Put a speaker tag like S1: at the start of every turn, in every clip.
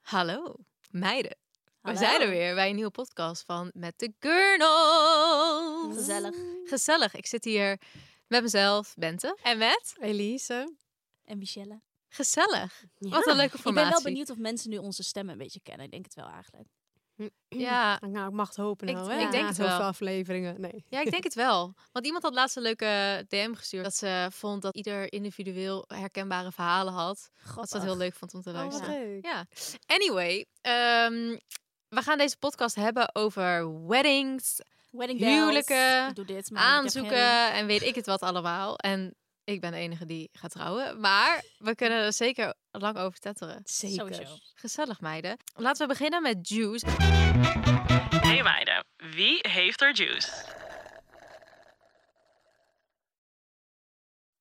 S1: Hallo, meiden.
S2: Hallo.
S1: We zijn er weer bij een nieuwe podcast van Met de Gurnels.
S2: Gezellig.
S1: Gezellig. Ik zit hier met mezelf, Bente. En met?
S3: Elise.
S2: En Michelle.
S1: Gezellig.
S3: Ja.
S1: Wat een leuke
S2: Ik
S1: formatie.
S2: ben wel benieuwd of mensen nu onze stemmen een beetje kennen. Ik denk het wel eigenlijk.
S1: Ja.
S3: Nou, ik mag het hopen
S1: Ah. Ik-
S3: nou,
S1: ik
S3: hè?
S1: denk
S3: Na
S1: het wel. Oh,
S3: zoveel afleveringen. Nee.
S1: ja, ik denk het wel. Want iemand had laatst een leuke DM gestuurd. Dat ze vond dat ieder individueel herkenbare verhalen had. Dat ze dat
S2: Grappig.
S1: heel leuk vond
S2: Oh,
S1: om te luisteren.
S3: leuk.
S1: Ja. Anyway, ehm, we gaan deze podcast hebben over weddings,
S2: Wedding
S1: Huwelijken,
S2: bells. Ik doe dit, maar ik heb geen-
S1: aanzoeken en weet ik het wat allemaal. En ik ben de enige die gaat trouwen. Maar we kunnen er zeker lang over tetteren.
S2: Sowieso.
S1: Gezellig, meiden. Laten we beginnen met Juice.
S4: Hey meiden, wie heeft er juice?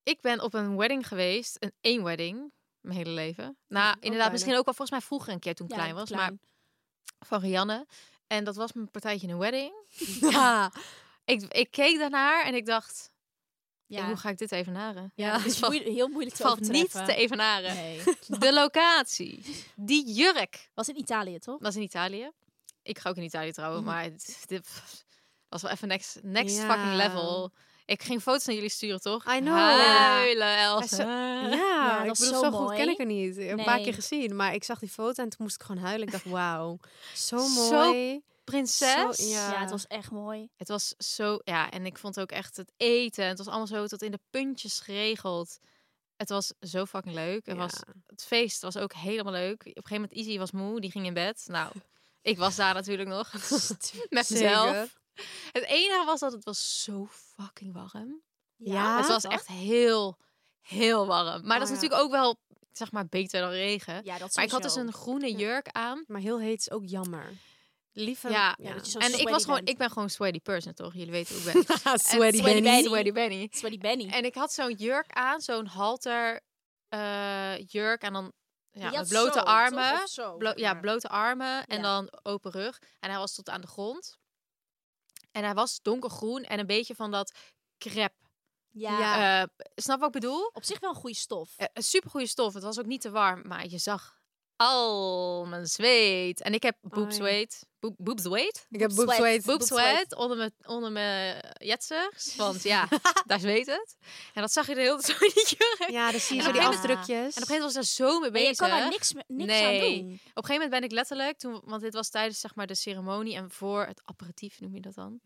S1: Ik ben op een wedding geweest. Een één wedding. Mijn hele leven. Nou, inderdaad,
S3: bijna.
S1: misschien ook wel volgens mij vroeger een keer toen ik
S2: Ja,
S1: klein was.
S2: klein.
S1: Maar van Rianne. En dat was mijn partijtje in een wedding.
S3: Ja.
S1: Ik, ik keek daarnaar en ik dacht,
S2: Ja,
S1: hoe ga ik dit evenaren?
S2: ja, dat is
S1: valt-
S2: moeie- heel moeilijk te
S1: valt niet
S2: overtreffen.
S1: te evenaren.
S2: Nee.
S1: De locatie. Die jurk.
S2: Was in Italië, toch?
S1: was in Italië. Ik ga ook in Italië trouwen,
S2: Mhm.
S1: maar het- dit pff, was wel even next, next
S3: Ja.
S1: fucking level. Ik ging foto's naar jullie sturen, toch?
S3: I know.
S1: Huilen,
S3: Zo-
S1: Elsa.
S3: Ja,
S2: Ja,
S3: ik
S2: dat is
S3: bedoel,
S2: zo
S3: zo, goed ken
S2: mooi.
S3: ik er niet. Een paar
S2: Nee.
S3: keer gezien, maar ik zag die foto en toen moest ik gewoon huilen. Ik dacht, wauw, zo
S1: Zo
S3: mooi.
S1: Prinses.
S3: Zo-
S2: Ja,
S3: ja.
S2: het was echt mooi.
S1: Het was zo, ja, en ik vond ook echt het eten. Het was allemaal zo tot in de puntjes geregeld. Het was zo fucking leuk. Het,
S3: Ja.
S1: was, het feest was ook helemaal leuk. Op een gegeven moment, Izzy was moe, die ging in bed. Nou, ik was daar natuurlijk nog. Met mezelf.
S3: Zeker.
S1: Het enige was dat het was zo fucking warm.
S3: Ja,
S1: het was echt heel, heel warm. Maar dat is
S3: ja.
S1: natuurlijk ook wel, zeg maar, beter dan regen.
S2: Ah, Ja, dat
S1: maar ik had dus
S2: sowieso.
S1: een groene jurk aan.
S3: Maar heel heet is ook jammer.
S1: Liever.
S3: Ja.
S1: Ja.
S2: Ja, dat je zo
S1: En ik
S2: sweaty
S1: was gewoon,
S2: bent.
S1: ik ben gewoon sweaty person, toch? Jullie weten hoe ik ben.
S3: Sweaty
S1: En-
S2: Benny. Benny.
S1: Sweaty Benny.
S2: Sweaty Benny.
S1: En ik had zo'n jurk aan, zo'n halter eh, jurk en dan ja,
S2: Die
S1: met
S2: had
S1: blote
S2: zo, toch?
S1: armen.
S2: Of zo,
S1: Blo-
S2: zeg
S1: ja,
S2: maar.
S1: blote armen en
S2: Ja.
S1: dan open rug. En hij was tot aan de grond. En hij was donkergroen en een beetje van dat crepe.
S2: Ja,
S3: Ja.
S1: Eh, snap wat ik bedoel?
S2: op zich wel een goede stof.
S1: Eh, Een supergoeie stof. Het was ook niet te warm, maar je zag al mijn zweet. En ik heb
S2: Oh,
S1: boob
S3: Ai.
S1: zweet. Boob, boob zweet?
S3: Ik heb
S2: Boob
S3: boob
S2: sweat.
S3: sweat.
S1: Boob
S2: Boob zweet.
S1: zweet onder mijn, onder mijn jetsers. Want ja, daar zweet het. En dat zag je de hele tijd zo in die jurk. En op
S3: Ja, dan zie je
S1: En
S3: zo
S1: op
S3: die
S1: een
S2: gegeven-
S3: afdrukjes.
S1: een gegeven moment was ik daar zo mee
S2: Maar
S1: bezig.
S2: je kan daar niks, me- niks
S1: Nee.
S2: aan doen.
S1: Op een gegeven moment ben ik letterlijk, toen, want dit was tijdens zeg maar, de ceremonie en voor het aperitief, noem je dat dan?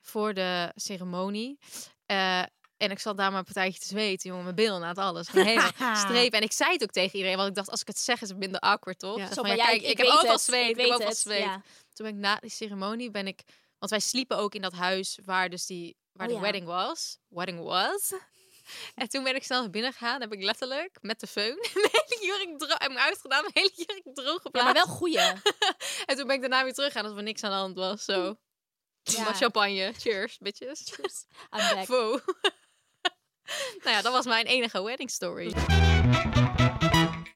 S1: Voor de ceremonie. Eh, en ik zat daar maar een partijtje te zweten, jongen. Mijn billen na het alles. Gewoon helemaal strepen. En ik zei het ook tegen iedereen, want ik dacht, als ik het zeg, is het minder awkward, toch?
S3: Ja.
S1: Zo
S2: Zo
S1: van,
S2: van,
S1: ja, kijk, ik, heb
S2: weet
S1: overal
S2: het,
S1: zweet. Ik,
S2: weet
S1: heb overal
S2: het,
S1: zweet.
S2: ja.
S1: Toen ben ik na die ceremonie, ben ik... Want wij sliepen ook in dat huis waar dus die... Waar
S2: Oh,
S1: de
S2: ja.
S1: wedding was. Wedding was. En toen ben ik snel naar binnen gegaan. Heb ik letterlijk met de föhn mijn hele jurk droog... Heb ik uitgedaan, mijn hele jurk droog geplaatst.
S2: Ja, maar wel goede.
S1: En toen ben ik daarna weer teruggegaan alsof er niks aan de hand was. Zo.
S2: Ja.
S1: Maar champagne. Cheers, bitches.
S2: I'm back.
S1: Wow. nou ja, dat was mijn enige wedding story.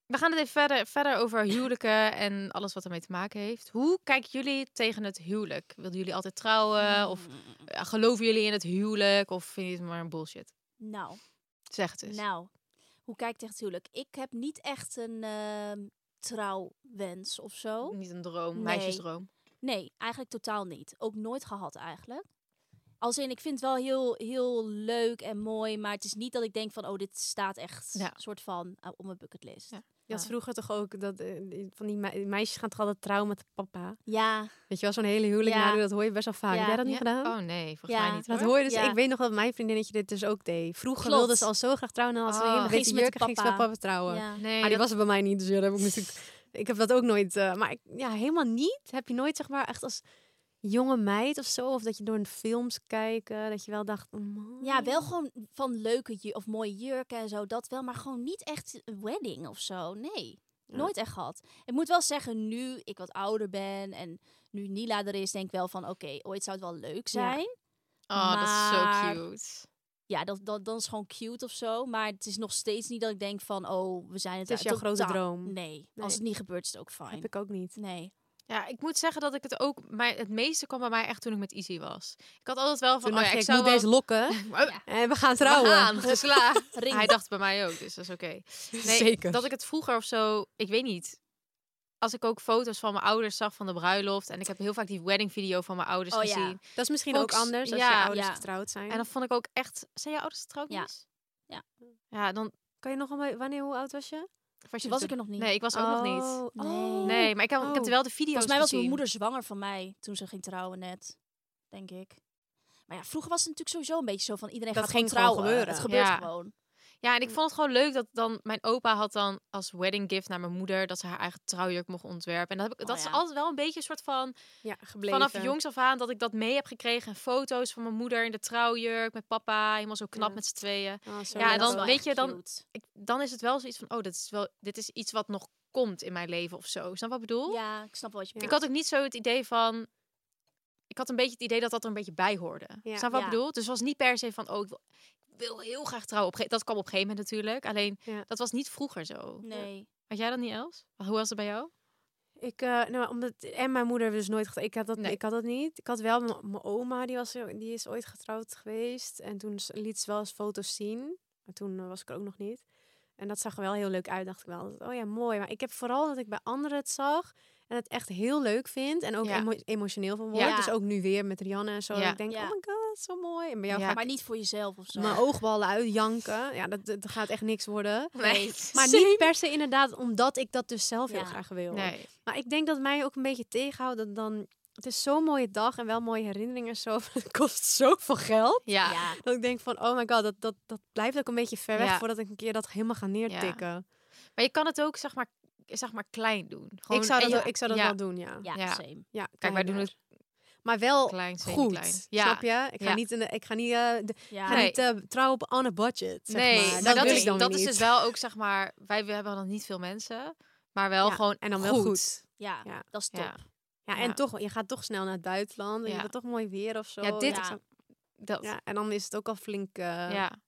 S1: We gaan het even verder, verder over huwelijken en alles wat ermee te maken heeft. Hoe kijken jullie tegen het huwelijk? Wilden jullie altijd
S3: Hmm.
S2: Mm.
S1: trouwen? Of eh, geloven jullie in het huwelijk? Of vind je het maar een bullshit?
S2: Nou,
S1: Zeg het eens.
S2: Nou, hoe kijk ik tegen het huwelijk? Ik heb niet echt een ehm, trouwwens of
S3: Nou,
S2: zo.
S1: Niet een droom,
S2: Nee.
S1: meisjesdroom.
S2: Nee, eigenlijk totaal niet. Ook nooit gehad eigenlijk. Als in, ik vind het wel heel, heel leuk en mooi, maar het is niet dat ik denk van, oh, dit staat echt
S1: Ja.
S2: soort van eh, op mijn bucketlist.
S1: Ja.
S2: Ja.
S3: Je had vroeger toch ook dat eh, die- van die me- meisjes gaan toch altijd trouwen met de papa.
S2: ja.
S3: Weet je wel, zo'n hele huwelijk
S2: Ja.
S3: nadoen, dat hoor je best wel vaak.
S2: Ja.
S3: Heb jij dat niet
S1: Ja.
S3: gedaan?
S1: Oh nee, volgens
S2: Ja.
S1: mij niet.
S3: Dat
S1: hoor.
S3: hoor je dus.
S2: Ja.
S3: Ik weet nog dat mijn vriendinnetje dit dus ook deed. Vroeger
S2: Klopt.
S3: wilde ze al zo graag trouwen. En dan had ze
S1: Oh.
S3: een hele
S1: Ging
S2: ze
S3: witte
S2: met
S3: jurk en ging ze met
S2: papa.
S3: papa trouwen.
S1: Nee,
S3: Ah, die
S1: dat-
S3: was er bij mij niet, dus ja, dat heb ik natuurlijk... Ik heb dat ook nooit... eh, maar ik, ja, helemaal niet. Heb je nooit, zeg maar, echt als jonge meid of zo... of dat je door een films kijkt, eh, dat je wel dacht... oh man.
S2: Ja, wel gewoon van leuke ju- of mooie jurken en zo, dat wel, maar gewoon niet echt een wedding of zo. Nee. Nooit echt gehad. Ik moet wel zeggen, nu ik wat ouder ben en nu Nila er is, denk ik wel van oké, ooit zou het wel leuk
S3: Ja.
S2: zijn.
S1: Oh, dat is zo
S2: Maar-
S1: cute.
S2: Ja, dat, dat, dat is gewoon cute of zo. Maar het is nog steeds niet dat ik denk van oh, we zijn het
S3: Het is jouw
S2: totaal-
S3: grote droom.
S2: Nee,
S3: Nee.
S2: als het niet gebeurt is het ook
S3: Heb
S2: fijn.
S3: ik ook niet.
S2: Nee.
S1: Ja, ik moet zeggen dat ik het ook... Maar het meeste kwam bij mij echt toen ik met Izzy was. Ik had altijd wel van...
S3: Toen
S1: oh ja,
S3: dacht je,
S1: ik
S3: ik
S1: zou
S3: moet
S1: wel... Oh,
S3: deze lokken
S1: Ja.
S3: en we gaan
S1: We
S3: trouwen.
S1: gaan,
S2: Dus-
S1: geslaagd.
S2: Ring.
S1: Hij dacht bij mij ook, dus dat is oké. Nee,
S3: Zeker.
S1: Dat ik het vroeger of zo, ik weet niet. Als ik ook foto's van mijn ouders zag van de bruiloft. En ik heb heel vaak die wedding video van mijn ouders
S2: Oh ja.
S1: gezien.
S3: Dat is misschien
S1: Fox,
S3: ook anders als
S1: ja.
S3: je ouders
S2: Ja.
S3: getrouwd zijn.
S1: En dan vond ik ook echt. Zijn je ouders getrouwd?
S2: Ja.
S1: Nies?
S2: Ja.
S1: Ja, dan
S3: Kan je nog eenmaal... Wanneer, hoe oud was je?
S1: was je
S2: was ik
S1: natuurlijk-
S2: er nog niet.
S1: Nee, ik was ook nog niet.
S3: Oh,
S2: Nee.
S3: oh.
S1: Nee, maar ik heb, ik heb
S3: Oh.
S1: wel de video's
S2: Volgens mij was
S1: gezien.
S2: mijn moeder zwanger van mij toen ze ging trouwen net, denk ik. Maar ja, vroeger was het natuurlijk sowieso een beetje zo van iedereen
S3: Dat
S2: gaat gewoon
S3: ging gewoon
S2: trouwen.
S3: gebeuren.
S2: Het gebeurt
S1: Ja.
S2: gewoon.
S1: Ja, en ik vond het gewoon leuk dat dan mijn opa had dan als wedding gift naar mijn moeder dat ze haar eigen trouwjurk mocht ontwerpen. En dat, heb ik,
S2: Oh,
S1: dat is
S2: ja.
S1: altijd wel een beetje een soort van
S3: Ja, gebleven.
S1: vanaf jongs af aan dat ik dat mee heb gekregen. En foto's van mijn moeder in de trouwjurk met papa, helemaal zo knap
S3: Ja.
S1: met z'n tweeën.
S3: Oh, zo
S1: Ja, dan
S3: leuk.
S2: Dat is wel
S1: weet
S2: echt
S1: je, dan-
S2: cute.
S1: ik, dan is het wel zoiets van, oh, dit is, wel, dit is iets wat nog komt in mijn leven of zo. Snap je wat ik bedoel?
S2: Ja, ik snap wel wat je
S3: Ja.
S1: Ik
S2: bedoelt.
S1: had ook niet zo het idee van... Ik had een beetje het idee dat dat er een beetje bij hoorde.
S3: Ja.
S1: Snap je wat
S2: Ja.
S1: ik bedoel? Dus het was niet per se van, oh, ik wil, ik wil heel graag trouwen. Op ge- dat kwam op een gegeven moment natuurlijk. Alleen,
S3: Ja.
S1: dat was niet vroeger zo.
S2: Nee.
S1: Had jij dat niet, Els? Hoe was het bij jou?
S3: Ik, eh, nou, omdat, en mijn moeder dus nooit getrouwd. Ik had dat,
S1: Nee.
S3: ik had dat niet. Ik had wel mijn- mijn oma, die, was, die is ooit getrouwd geweest. En toen s- liet ze wel eens foto's zien. Maar toen eh, was ik er ook nog niet. En dat zag er wel heel leuk uit, dacht ik wel. Oh ja, mooi. Maar ik heb vooral dat ik bij anderen het zag. En het echt heel leuk vind. En ook
S1: Ja.
S3: emo- emotioneel van word.
S2: Ja.
S3: Dus ook nu weer met Rianne en zo.
S1: Ja.
S3: Ik denk,
S2: Ja.
S3: oh my god, zo mooi. En bij jou
S1: Ja.
S3: ga ik
S2: Maar niet voor jezelf of zo.
S3: mijn oogballen uit, janken. Ja, dat, dat gaat echt niks worden.
S2: Nee.
S3: Maar niet per se inderdaad omdat ik dat dus zelf
S2: Ja.
S3: heel graag wil.
S1: Nee.
S3: Maar ik denk dat mij ook een beetje tegenhoudt dat dan... Het is zo'n mooie dag en wel mooie herinneringen en zo. maar Het kost zoveel geld.
S1: Ja.
S2: Ja.
S3: Dat ik denk van, oh my god, dat, dat, dat blijft ook een beetje ver weg...
S1: Ja.
S3: voordat ik een keer dat helemaal ga neertikken.
S1: Maar je kan het ook, zeg maar, zeg maar klein doen. Gewoon-
S3: ik zou dat,
S1: en ja,
S3: wel, ik zou dat
S1: ja.
S3: wel doen, ja.
S2: Ja,
S1: Ja.
S2: same.
S3: ja
S1: Kijk, wij doen
S3: kleiner.
S1: het
S3: Maar wel
S1: klein,
S3: Oh, goed,
S1: semi-klein. Ja.
S3: snap je? Ik ga
S1: Ja.
S3: niet, in de, ik ga niet, eh, de-
S2: Ja.
S3: ga
S1: Nee.
S3: niet eh, trouwen op on a budget, zeg
S1: nee,
S3: maar.
S1: maar dat,
S3: wil
S1: is,
S3: ik dan
S1: dat
S3: weer
S1: is
S3: niet.
S1: dus wel ook, zeg maar, wij we hebben dan niet veel mensen, maar wel
S3: Ja,
S1: gewoon
S3: En dan wel goed.
S2: Ja,
S3: Ja.
S2: dat is top.
S1: Ja.
S3: Ja,
S1: Ja.
S3: en toch, je gaat toch snel naar het buitenland. En
S1: Ja.
S3: je hebt toch mooi weer of zo.
S1: Ja, dit-
S3: ja.
S2: Ja.
S1: Dat, ja.
S3: Ja, en dan is het ook al flink eh,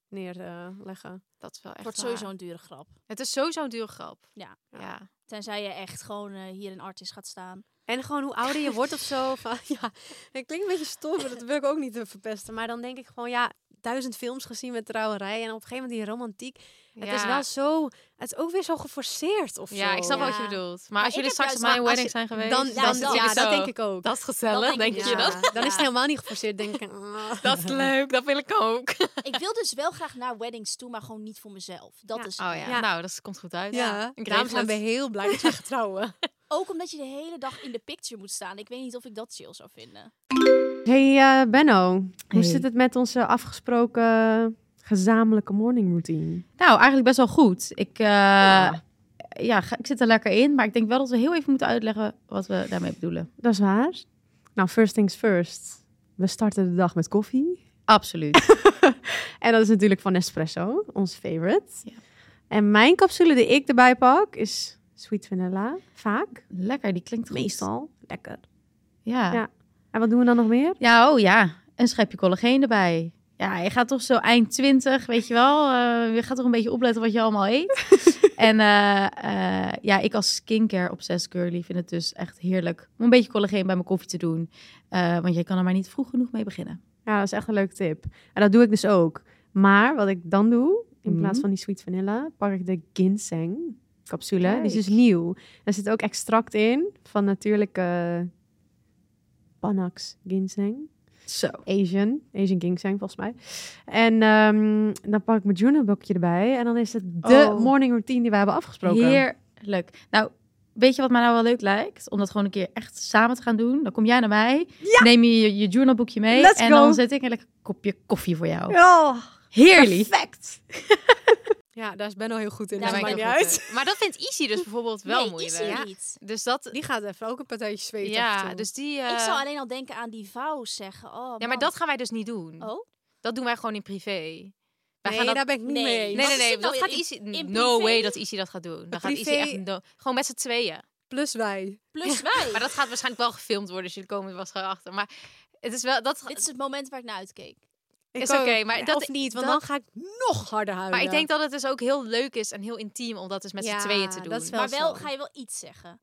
S3: neerleggen.
S1: dat is wel echt
S2: Wordt
S1: waar.
S2: sowieso een dure grap.
S1: Het is sowieso een dure grap.
S2: Ja.
S1: ja.
S2: Tenzij je echt gewoon eh, hier in Artis gaat staan.
S3: En gewoon hoe ouder je wordt of zo. Van, ja, het klinkt een beetje stom, maar dat wil ik ook niet eh, verpesten. Maar dan denk ik gewoon, ja, duizend films gezien met trouwerij. En op een gegeven moment die romantiek. Het is
S1: Ja.
S3: wel zo, het is ook weer zo geforceerd of
S1: Ja,
S3: zo.
S1: ik snap
S2: Ja.
S1: wat je bedoelt. Maar als
S2: ik
S1: jullie
S2: heb
S1: straks
S2: juist-
S1: op mijn
S2: maar als
S1: wedding zijn
S3: Dan,
S1: geweest,
S3: dan,
S2: Ja, dan-
S3: ja,
S1: is het
S3: dat
S1: zo.
S3: denk ik ook.
S1: Dat is gezellig,
S2: Dat denk
S1: denk,
S2: ik
S1: je
S2: ook.
S1: dat?
S3: Ja, Dan is
S2: Ja.
S3: het helemaal niet geforceerd. denk ik, ah.
S1: Dat is leuk, dat wil ik ook.
S2: ik wil dus wel graag naar weddings toe, maar gewoon niet voor mezelf. Dat
S3: Ja.
S2: is het.
S1: Oh ja,
S3: Ja.
S1: nou, dat komt goed uit.
S3: ja,
S1: ik
S3: daarom
S1: regel
S3: zijn we
S1: het.
S3: heel blij dat we gaan trouwen.
S2: Ook omdat je de hele dag in de picture moet staan. Ik weet niet of ik dat chill zou vinden.
S3: Hey eh, Benno, hoe
S5: Hey.
S3: zit het met onze afgesproken gezamenlijke morning routine?
S5: Nou, eigenlijk best wel goed. Ik, eh, ja, ga- ik zit er lekker in, maar ik denk wel dat we heel even moeten uitleggen wat we daarmee bedoelen.
S3: Dat is waar. Nou, first things first. We starten de dag met koffie.
S5: Absoluut.
S3: En dat is natuurlijk van Nespresso, ons favorite.
S5: Ja.
S3: En mijn capsule die ik erbij pak is sweet vanilla, vaak.
S5: lekker, die klinkt goed.
S3: Meestal. Lekker.
S5: Ja.
S3: Ja.
S5: ja.
S3: En wat doen we dan nog meer?
S5: oh ja. Een schepje collageen erbij. Ja, je gaat toch zo eind 20, weet je wel. eh, je gaat toch een beetje opletten wat je allemaal eet. en eh, eh, ja, ik als skincare obsessed girly vind het dus echt heerlijk om een beetje collageen bij mijn koffie te doen. Eh, want je kan er maar niet vroeg genoeg mee beginnen.
S3: Ja, dat is echt een leuke tip. En dat doe ik dus ook. Maar wat ik dan doe, in
S5: Mhm.
S3: plaats van die sweet vanilla, pak ik de ginseng capsule. Die is dus
S5: Kijk.
S3: nieuw. Daar zit ook extract in van natuurlijke Panax ginseng.
S5: Zo.
S3: Asian. Asian ginseng volgens mij. En ehm, dan pak ik mijn Junebokje erbij. En dan is het de
S5: Oh.
S3: morning routine die we hebben afgesproken.
S5: Heerlijk. Nou, weet je wat mij nou wel leuk lijkt? Om dat gewoon een keer echt samen te gaan doen. Dan kom jij naar mij, neem je je, je journalboekje mee
S3: Let's
S5: en
S3: go.
S5: dan zet ik een lekker kopje koffie voor jou.
S3: Oh,
S5: Heerlijk.
S3: perfect. Ja, daar is Ben al heel goed in.
S2: Daar
S3: dus
S2: ben
S3: maakt
S2: ik
S3: niet
S1: heel goed
S3: uit.
S1: in. Maar dat vindt Izzy dus bijvoorbeeld wel
S2: nee,
S1: moeilijk.
S2: is hier
S1: Ja.
S2: niet.
S1: Dus dat,
S3: Die gaat even ook een partijtje zweten. af en
S1: ja,
S3: toe.
S1: dus die... eh,
S2: Ik zou alleen al denken aan die vouw zeggen. Oh,
S1: ja, maar
S2: man.
S1: dat gaan wij dus niet doen.
S2: Oh?
S1: Dat doen wij gewoon in privé. Wij
S3: nee,
S1: gaan dat-
S3: daar ben ik niet
S2: Nee.
S3: mee.
S1: Nee, nee,
S3: eens.
S2: Wat is
S1: nee.
S2: dit nou
S1: Dat gaat
S2: in-
S1: Izzy...
S2: in
S1: No
S2: privé?
S1: way dat Izzy dat gaat doen. Dan gaat Izzy
S3: Privé-
S1: echt... no- Gewoon met z'n tweeën.
S3: Plus wij.
S2: Plus wij.
S1: Maar dat gaat waarschijnlijk wel gefilmd worden, dus jullie komen er wel achter. Maar het is wel... Dat,
S2: Dit is het moment waar ik naar uitkeek.
S3: Ik
S1: Is
S3: ook.
S1: oké, maar
S3: Ja,
S1: dat-
S3: of niet, want
S1: dat-
S3: dan ga ik nog harder huilen.
S1: maar ik denk dat het dus ook heel leuk is en heel intiem om dat dus met
S3: Ja,
S1: z'n tweeën te doen.
S3: dat is wel
S2: maar wel
S3: zo.
S2: ga je wel iets zeggen.